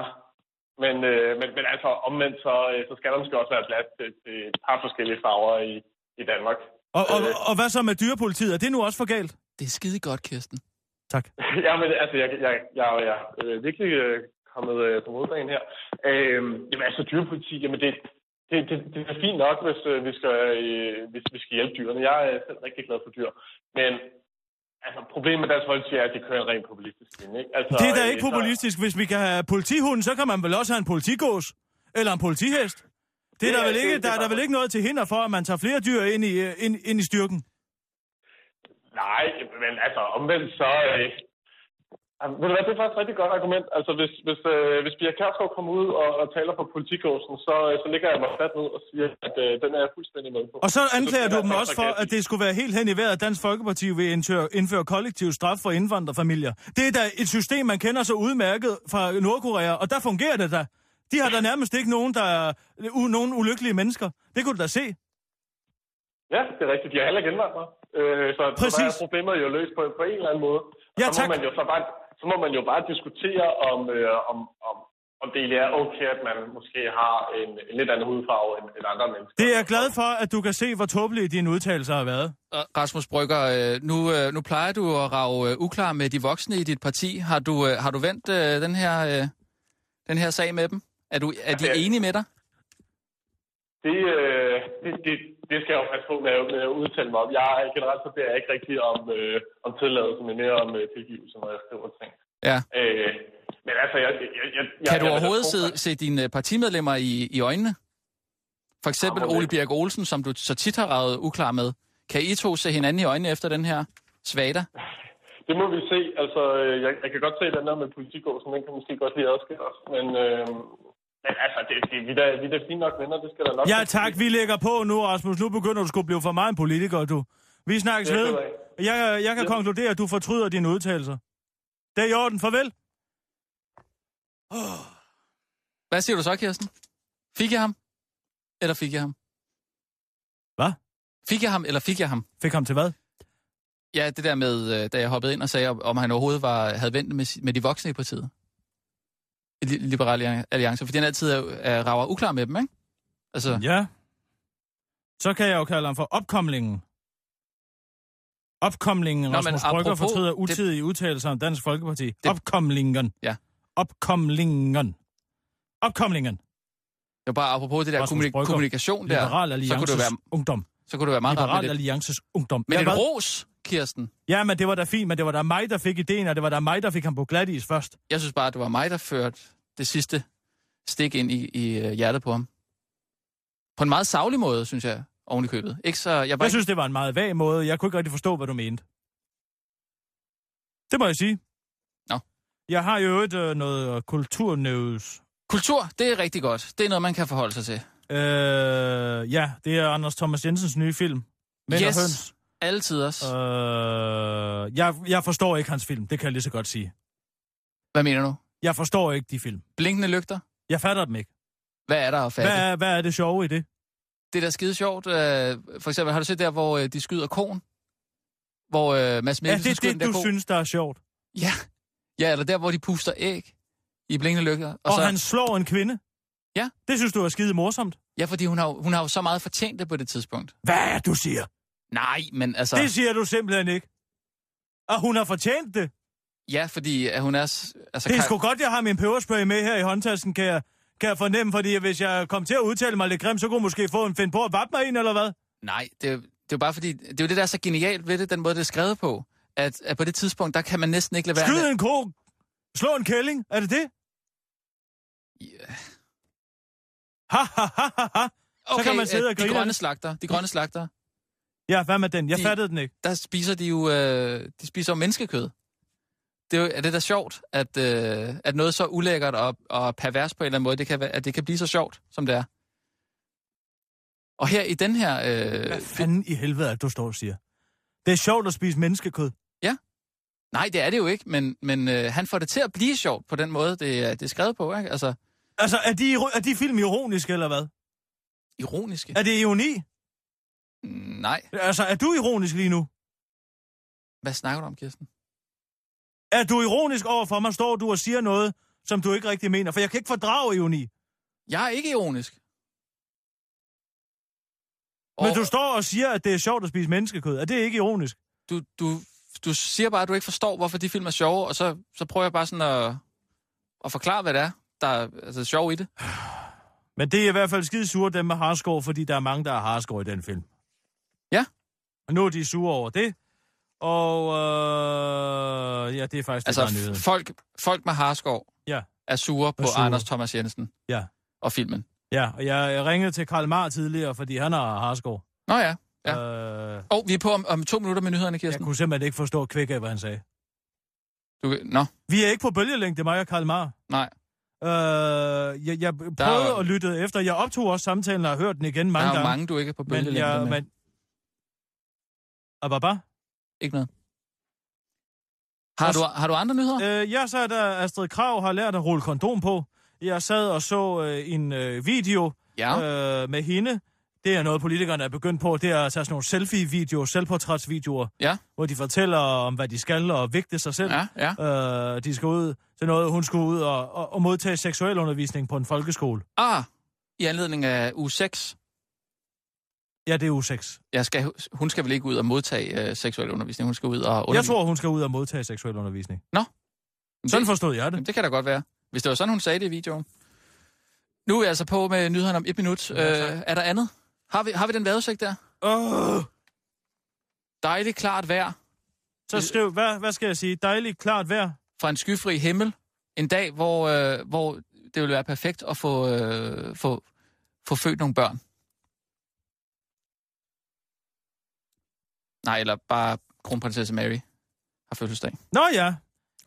S8: Men, øh, men, men altså, omvendt, så, øh, så skal der måske også være plads til, til et par forskellige farver i, i Danmark.
S4: Og, og, og hvad så med dyrepolitiet? Er det nu også for galt?
S6: Det er skide godt, Kirsten.
S4: Tak.
S8: ja, men altså, jeg, jeg, jeg, jeg er virkelig øh, kommet øh, på modbanen her. Øh, jamen altså, dyrepoliti, jamen det, det, det, det er fint nok, hvis, øh, vi skal, øh, hvis vi skal hjælpe dyrene. Jeg er selv rigtig glad for dyr. Men altså, problemet med Dansk Folkeparti er, at de kører en ren populistisk linje. Ikke? Altså,
S4: Det er da
S8: øh,
S4: ikke
S8: så-
S4: populistisk. Hvis vi kan have politihunden, så kan man vel også have en politigås. Eller en politihest. Det er
S8: Ja,
S4: der vel
S8: det-
S4: ikke,
S8: det
S4: der er
S8: er
S4: der vel
S8: bare-
S4: ikke noget til hinder for, at man tager flere dyr ind i, øh, ind, ind i styrken.
S8: Nej, men altså omvendt så... Øh,
S10: Jamen, Ved du hvad, det er faktisk et rigtig godt argument. Altså, hvis, hvis, øh, hvis Pia Kærsgaard kommer ud og, og taler på politikåsen, så, øh, så ligger jeg mig flat ned og siger, at øh, den er jeg fuldstændig med på.
S4: Og så anklager
S10: synes
S4: du
S10: jeg,
S4: dem
S10: der er
S4: også for,
S10: sarkasme i.
S4: at det skulle være helt hen i vejret, at Dansk Folkeparti vil indføre, indføre kollektiv straf for indvandrerfamilier. Det er da et system, man kender så udmærket fra Nordkorea, og der fungerer det da. De har da nærmest ikke nogen, der er u- nogen ulykkelige mennesker. Det kunne du da se.
S10: Ja, det er rigtigt. De er heller ikke indvandrere. Øh, så, så der
S4: Præcis.
S10: er problemet jo løst på, på en eller anden måde. Og
S4: Ja,
S10: så, må
S4: tak.
S10: man jo så, bare, så må man jo bare diskutere, om, øh, om, om, om det egentlig er okay, at man måske har en, en lidt anden hudfarve end, end andre mennesker.
S4: Det er jeg glad for, at du kan se, hvor tåbelige dine udtalelser har været.
S6: Og Rasmus Brygger, øh, nu, øh, nu plejer du at rave øh, uklar med de voksne i dit parti. Har du, øh, har du vendt øh, den, her, øh, den her sag med dem? Er, du, er de
S10: Ja.
S6: enige med dig?
S10: Det, øh, det, det, det skal jeg jo passe på med at, med at udtale mig om. Jeg er- generelt så beder jeg ikke rigtig om, øh, om tilladelse, men mere om øh, tilgivelse, når jeg skriver ting.
S6: Ja.
S10: Øh, men altså, jeg... jeg, jeg, jeg jeg-
S6: Kan du
S10: jeg-
S6: overhovedet
S10: jeg-
S6: se, se dine øh, partimedlemmer i, i øjnene? For eksempel
S10: Ja, må det
S6: Ole
S10: ikke.
S6: Birk Olsen, som du så tit har ravet uklar med. Kan I to se hinanden i øjnene efter den her svater?
S10: Det må vi se. Altså, øh, jeg, jeg kan godt se, at den der med politikåsen, den kan måske godt lige adskille os. Men, øh, men altså, det, det, vi, er da, vi er da fint nok venner, det skal der nok.
S4: Ja tak, vi lægger på nu, Rasmus. Nu begynder du sgu at blive for meget en politiker, du. Vi snakkes
S10: Det er
S4: ved.
S10: ked
S4: Jeg, jeg kan konkludere, at du fortryder dine udtalelser. Det er i orden. Farvel.
S6: Hvad siger du så, Kirsten? Fik jeg ham? Eller fik jeg ham?
S4: Hvad?
S6: Fik jeg ham, eller fik jeg ham?
S4: Fik ham til hvad?
S6: Ja, det der med, øh, da jeg hoppede ind og sagde, om om han overhovedet var, havde vendt med, si- med de voksne i partiet. I Li- Liberal Alliance, fordi han altid er, er rager uklar med dem, ikke? Altså, ja.
S4: Ja. Så kan jeg jo kalde ham for opkomlingen. Opkomlingen,
S6: Nå,
S4: Nå,
S6: men
S4: Rasmus Brygger
S6: apropos-
S4: fortryder
S6: det-
S4: utidige det... udtalelser om Dansk Folkeparti. Det...
S6: Det-
S4: Opkomlingen.
S6: Ja.
S4: Opkomlingen. Opkomlingen.
S6: det var bare apropos det der
S4: Rasmus
S6: kommunik-
S4: Brygger,
S6: kommunikation der,
S4: Liberal
S6: så kunne, det
S4: Alliances
S6: være,
S4: Ungdom.
S6: så kunne det være meget rart
S4: Liberal
S6: med det.
S4: Alliances Ungdom.
S6: Men
S4: ja,
S6: en
S4: hvad?
S6: ros, Kirsten.
S4: ja, men det var da fint, men det var da mig, der fik ideen, og det var da mig, der fik ham på glatis først.
S6: Jeg synes bare, det var mig, der førte det sidste stik ind i, i øh, hjertet på ham. På en meget savlig måde, synes jeg, oven i købet. Ikke så, jeg var
S4: Jeg
S6: ikke
S4: synes, det var en meget vag måde. Jeg kunne ikke rigtig forstå, hvad du mente. Det må jeg sige.
S6: Nå.
S4: Jeg har jo et øh, noget kulturnøvs.
S6: Kultur, det er rigtig godt. Det er noget, man kan forholde sig til.
S4: Øh, ja, det er Anders Thomas Jensens nye film. Mænd
S6: Yes.
S4: og høns.
S6: Altid også. Uh.
S4: Øh, jeg, jeg forstår ikke hans film, det kan jeg lige så godt sige.
S6: Hvad mener du?
S4: Jeg forstår ikke de film.
S6: Blinkende lygter?
S4: Jeg fatter dem ikke.
S6: Hvad er der at fatte?
S4: Hvad
S6: Hvad?
S4: er, hvad er det sjove i det?
S6: Det er da skide sjovt. Øh, for eksempel, har du set der, hvor øh, de skyder konen? Hvor øh, Mads
S4: Er
S6: Mikkelsen
S4: det
S6: skyder
S4: det,
S6: den der
S4: du
S6: ko?
S4: synes, der er sjovt?
S6: Ja. ja, eller der, hvor de puster æg i blinkende lygter. Og,
S4: Og,
S6: så,
S4: han slår en kvinde?
S6: Ja.
S4: Det synes du er skide morsomt?
S6: Ja, fordi hun har, jo- hun har jo så meget fortjent det på det tidspunkt.
S4: Hvad er det, du siger?
S6: Nej, men altså...
S4: Det siger du simpelthen ikke. Og hun har fortjent det.
S6: Ja, fordi at hun er... s- Altså,
S4: Det er
S6: Kaj-
S4: sgu godt, jeg har min peberspray med her i håndtasken, kan jeg, kan jeg fornemme, fordi hvis jeg kom til at udtale mig lidt grimt, så kunne jeg måske få en find på at vappe mig en, eller hvad?
S6: Nej, det, er jo- det er jo bare fordi... Det er jo det, der er så genialt ved det, den måde, det er skrevet på. At, at på det tidspunkt, der kan man næsten ikke lade være... med-
S4: Skyd en ko, slå en kælling, er det det?
S6: Ja.
S4: Ha, ha, ha, ha, ha. Så kan man sidde
S6: øh,
S4: og grine.
S6: De grønne slagter, de grønne slagter,
S4: Ja, hvad med den? Jeg
S6: De-
S4: fattede den ikke.
S6: der spiser de jo øh, de spiser jo menneskekød. Det er, jo, er det da sjovt, at, øh, at noget så ulækkert og, og pervers på en eller anden måde, det kan, være- at det kan blive så sjovt, som det er. Og her i den her... Øh,
S4: Hvad fanden i helvede er det, du står og siger? Det er sjovt at spise menneskekød.
S6: nej, det er det jo ikke, men, men øh, han får det til at blive sjovt på den måde, det, er- det er skrevet på. Ikke? Altså,
S4: Altså, er de, iro- er de film ironiske, eller hvad?
S6: ironiske?
S4: Er det ironi?
S6: Mm, Nej.
S4: Altså, er du ironisk lige nu?
S6: Hvad snakker du om, Kirsten?
S4: Er du ironisk over for mig, står du og siger noget, som du ikke rigtig mener? For jeg kan ikke fordrage ironi.
S6: Jeg er ikke ironisk.
S4: Men
S6: Og-
S4: du står og siger, at det er sjovt at spise menneskekød. Er det ikke ironisk?
S6: du, du, du siger bare, at du ikke forstår, hvorfor de film er sjove, og så, så prøver jeg bare sådan at, at forklare, hvad det er, der er altså, sjov i det.
S4: Men det er i hvert fald skide sure, dem med harskår, fordi der er mange, der har harskår i den film.
S6: Ja.
S4: Og nu er de sure over det. Og øh, ja, det er faktisk altså,
S6: Altså,
S4: det, der er nyheden.
S6: f- folk, folk med harskov
S4: Ja.
S6: er sure på
S4: sure.
S6: Anders Thomas Jensen
S4: Ja.
S6: og filmen.
S4: Ja, og jeg jeg ringede til Karl Mar tidligere, fordi han har harskår.
S6: Nå ja. Ja.
S4: Øh,
S6: Og vi er på om, om to minutter med nyhederne,
S4: jeg
S6: Kirsten.
S4: kunne simpelthen ikke forstå kvæk af, hvad han sagde.
S6: Du, kan- nå,
S4: Vi er ikke på bølgelængde, det er mig og Karl Mar.
S6: nej.
S4: Øh, jeg, jeg prøvede
S6: jo-
S4: og lyttede efter. Jeg optog også samtalen og har hørt den igen mange
S6: der er jo
S4: gange.
S6: mange, du ikke er på
S4: men
S6: bølgelængde
S4: jeg...
S6: med.
S4: Men... Ababa?
S6: Ikke noget. Har
S4: Og
S6: du, har du andre nyheder?
S4: Øh, jeg sad der, Astrid Krav har lært at rulle kondom på. Jeg sad og så øh, en øh, video
S6: Ja.
S4: øh, med hende. Det er noget, politikerne er begyndt på. Det er at tage sådan nogle selfie-videoer, selvportrætsvideoer,
S6: Ja.
S4: hvor de fortæller om, hvad de skal og vægte sig selv.
S6: Ja, ja.
S4: Øh, de skal ud til noget, hun skulle ud og, og, og modtage seksuel undervisning på en folkeskole.
S6: Ah, i anledning af uge 6.
S4: Ja, det er U6.
S6: Jeg skal, hun skal vel ikke ud og modtage øh, seksuel undervisning. Hun skal ud og
S4: Jeg tror, hun skal ud og modtage seksuel undervisning.
S6: det,
S4: Sådan forstod jeg det.
S6: Jamen, det kan da godt være. Hvis det var sådan, hun sagde det i videoen. Nu er jeg altså på med nyhederne om et minut. Ja, øh, er der andet? Har vi, har vi den vejrudsigt der?
S4: Øh,
S6: Dejligt klart vejr
S4: så skriv, hvad, hvad skal jeg sige? Dejligt klart vejr.
S6: fra en skyfri himmel. En dag, hvor, øh, hvor det ville være perfekt at få, øh, få, få født nogle børn. Nej, eller bare kronprinsesse Mary har fødselsdag.
S4: Nå ja,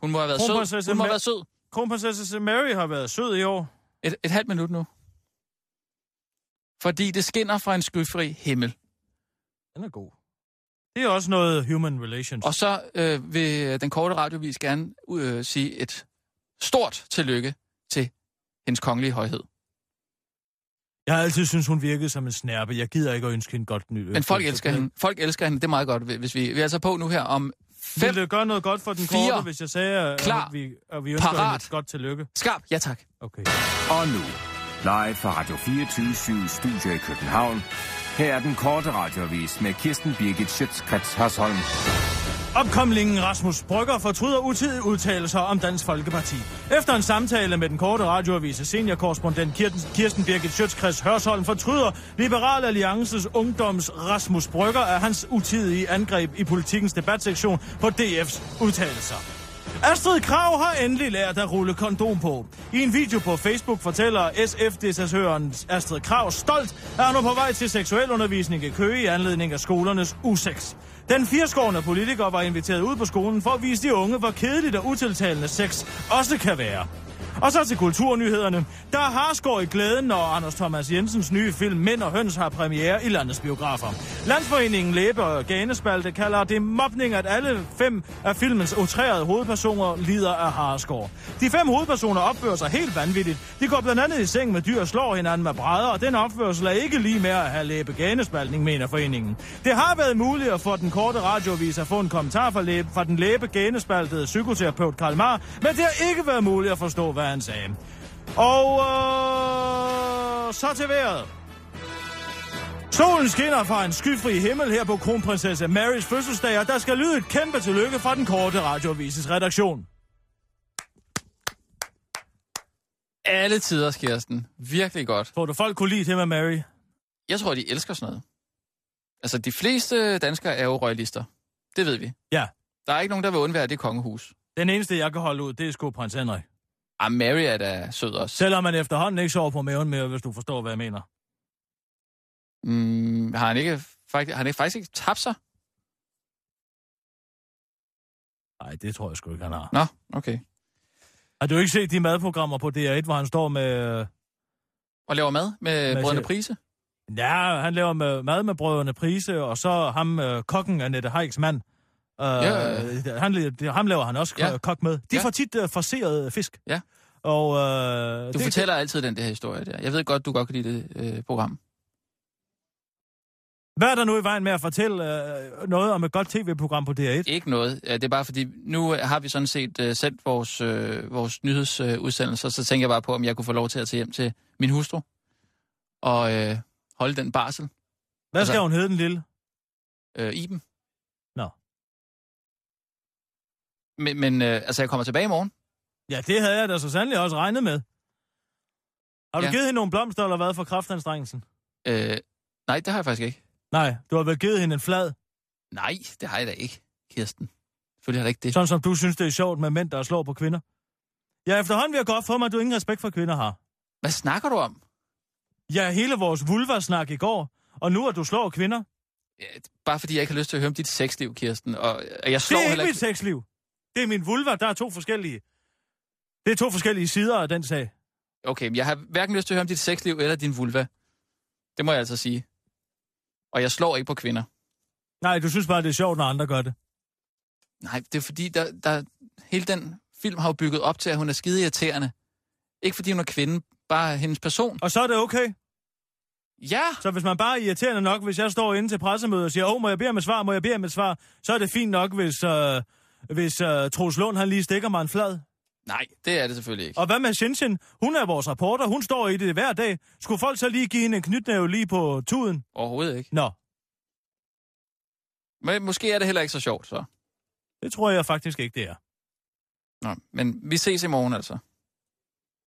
S6: Hun må have været sød.
S4: Kronprinsesse
S6: Hun må
S4: Ma-
S6: have været sød.
S4: kronprinsesse Mary har været sød i år.
S6: Et, et halvt minut nu. Fordi det skinner fra en skyfri himmel.
S4: Den er god. Det er også noget human relations.
S6: Og så øh, vil den korte radiovis gerne øh, sige et stort tillykke til hendes kongelige højhed.
S4: Jeg har altid syntes, hun virkede som en snærpe. Jeg gider ikke at ønske hende godt nyt.
S6: Men folk elsker hende. Folk elsker hende. Det er meget godt, hvis vi... Vi er altså på nu her om fem...
S4: Ville det gøre noget godt for den
S6: Fire.
S4: korte, hvis jeg sagde, at,
S6: Klar.
S4: at vi, at vi ønsker
S6: Parat.
S4: hende et godt tillykke?
S6: Skarp! Ja, tak.
S4: Okay.
S5: Og nu, live fra Radio 24 Studio i København. Her er den korte radiovis med Kirsten Birgit Schøtzgrads Hasholm.
S4: Opkomlingen Rasmus Brygger fortryder utidige udtalelser om Dansk Folkeparti. Efter en samtale med den korte radioavis af seniorkorrespondent Kirsten- Kirsten Birgit Sjøtskreds Hørsholm fortryder Liberal Alliances Ungdoms Rasmus Brygger af hans utidige angreb i politikens debatsektion på DF's udtalelser. Astrid Krav har endelig lært at rulle kondom på. I en video på Facebook fortæller SF-desertøren Astrid Krav stolt, at hun er på vej til seksuel undervisning i Køge i anledning af skolernes U6. Den firskårende politiker var inviteret ud på skolen for at vise de unge, hvor kedeligt og utiltalende sex også kan være. Og så til kulturnyhederne. Der har skår i glæden, når Anders Thomas Jensens nye film Mænd og Høns har premiere i landets biografer. Landsforeningen Læbe og Ganespalte kalder det mobning, at alle fem af filmens utrærede hovedpersoner lider af harskår. De fem hovedpersoner opfører sig helt vanvittigt. De går blandt andet i seng med dyr og slår hinanden med brædder, og den opførsel er ikke lige med at have Læbe Ganespaltning, mener foreningen. Det har været muligt at få den korte radiovis at få en kommentar fra, læbe, fra den læbe ganespaltede psykoterapeut Karl Mar, men det har ikke været muligt at forstå, hvad han sagde. Og øh, så til vejret. Solen skinner fra en skyfri himmel her på kronprinsesse Marys fødselsdag, og der skal lyde et kæmpe tillykke fra den korte radiovises redaktion.
S6: Alle tider, Kirsten. Virkelig godt.
S4: Tror du, folk kunne lide det med Mary?
S6: Jeg tror, de elsker sådan noget. Altså, de fleste danskere er jo røglister. Det ved vi.
S4: Ja.
S6: Der er ikke nogen, der vil undvære det kongehus.
S4: Den eneste, jeg kan holde ud, det er sgu prins Henrik.
S6: Ah, Mary er da sød også.
S4: Selvom man efterhånden ikke sover på maven mere, hvis du forstår, hvad jeg mener.
S6: Mm, har, han ikke, faktisk, har han ikke faktisk ikke tabt sig?
S4: Nej, det tror jeg sgu ikke, han har.
S6: Nå, okay.
S4: Har du ikke set de madprogrammer på DR1, hvor han står med... øh,
S6: Og laver mad med
S4: Hvad
S6: brødrene
S4: siger-
S6: Prise?
S4: Ja, han laver med, mad med brødrene Prise, og så ham, øh, kokken Annette Heiks mand. Øh,
S6: Ja.
S4: han, la- det- ham laver han også
S6: Ja.
S4: ja. kok med. De
S6: Ja.
S4: ja. får tit øh, forseret fisk.
S6: Ja.
S4: Og, øh,
S6: Du det, fortæller altid den der historie der. Jeg ved godt, du godt kan lide det øh, program.
S4: Hvad er der nu i vejen med at fortælle øh, noget om et godt tv-program på DR1?
S6: Ikke noget. Ja, Det er bare fordi, nu øh, har vi sådan set uh, sendt vores, uh, vores nyhedsudsendelser, så tænker jeg bare på, om jeg kunne få lov til at tage hjem til min hustru og uh, holde den barsel
S4: Hvad skal
S6: altså-
S4: hun hedde, den lille?
S6: uh, i dem.
S4: Nå.
S6: Men, men uh, altså, jeg kommer tilbage i morgen.
S4: Ja, det havde jeg da så sandelig også regnet med. Har du ja.
S6: Ja.
S4: givet hende nogle blomster eller hvad for kraftanstrengelsen?
S6: Uh, nej, det har jeg faktisk ikke.
S4: Nej, du har vel givet hende en flad,
S6: Nej, det har jeg da ikke, Kirsten. Selvfølgelig har jeg da ikke det.
S4: sådan som du synes, det er sjovt med mænd, der slår på kvinder. Ja, efterhånden vil jeg godt få mig, at du ingen respekt for kvinder har.
S6: Hvad snakker du om?
S4: Ja, hele vores vulva-snak i går, og nu at du slår kvinder,
S6: Ja, Bare fordi jeg ikke har lyst til at høre om dit sexliv, Kirsten. Og, og jeg slår
S4: det er
S6: heller
S4: ikke mit sexliv. Det er min vulva, der er to forskellige. Det er to forskellige sider af den sag.
S6: Okay, men jeg har hverken lyst til at høre om dit sexliv eller din vulva. Det må jeg altså sige. Og jeg slår ikke på kvinder.
S4: Nej, du synes bare, det er sjovt, når andre gør det.
S6: Nej, det er fordi, der, der, hele den film har jo bygget op til, at hun er skide irriterende. Ikke fordi hun er kvinde, bare hendes person.
S4: Og så er det okay.
S6: Ja,
S4: Så hvis man bare er irriterende nok, hvis jeg står inde til pressemødet og siger, åh, må jeg bede om et svar, må jeg bede om et svar, så er det fint nok, hvis, øh, hvis øh, Troels Lund, han lige stikker mig en flad.
S6: nej, det er det selvfølgelig ikke.
S4: Og hvad med Shenzhen? Hun er vores reporter, hun står i det hver dag. Skulle folk så lige give hende en knytnæve lige på tuden?
S6: Overhovedet ikke.
S4: Nå,
S6: Men måske er det heller ikke så sjovt, så.
S4: det tror jeg faktisk ikke, det er.
S6: Nå, men vi ses i morgen altså.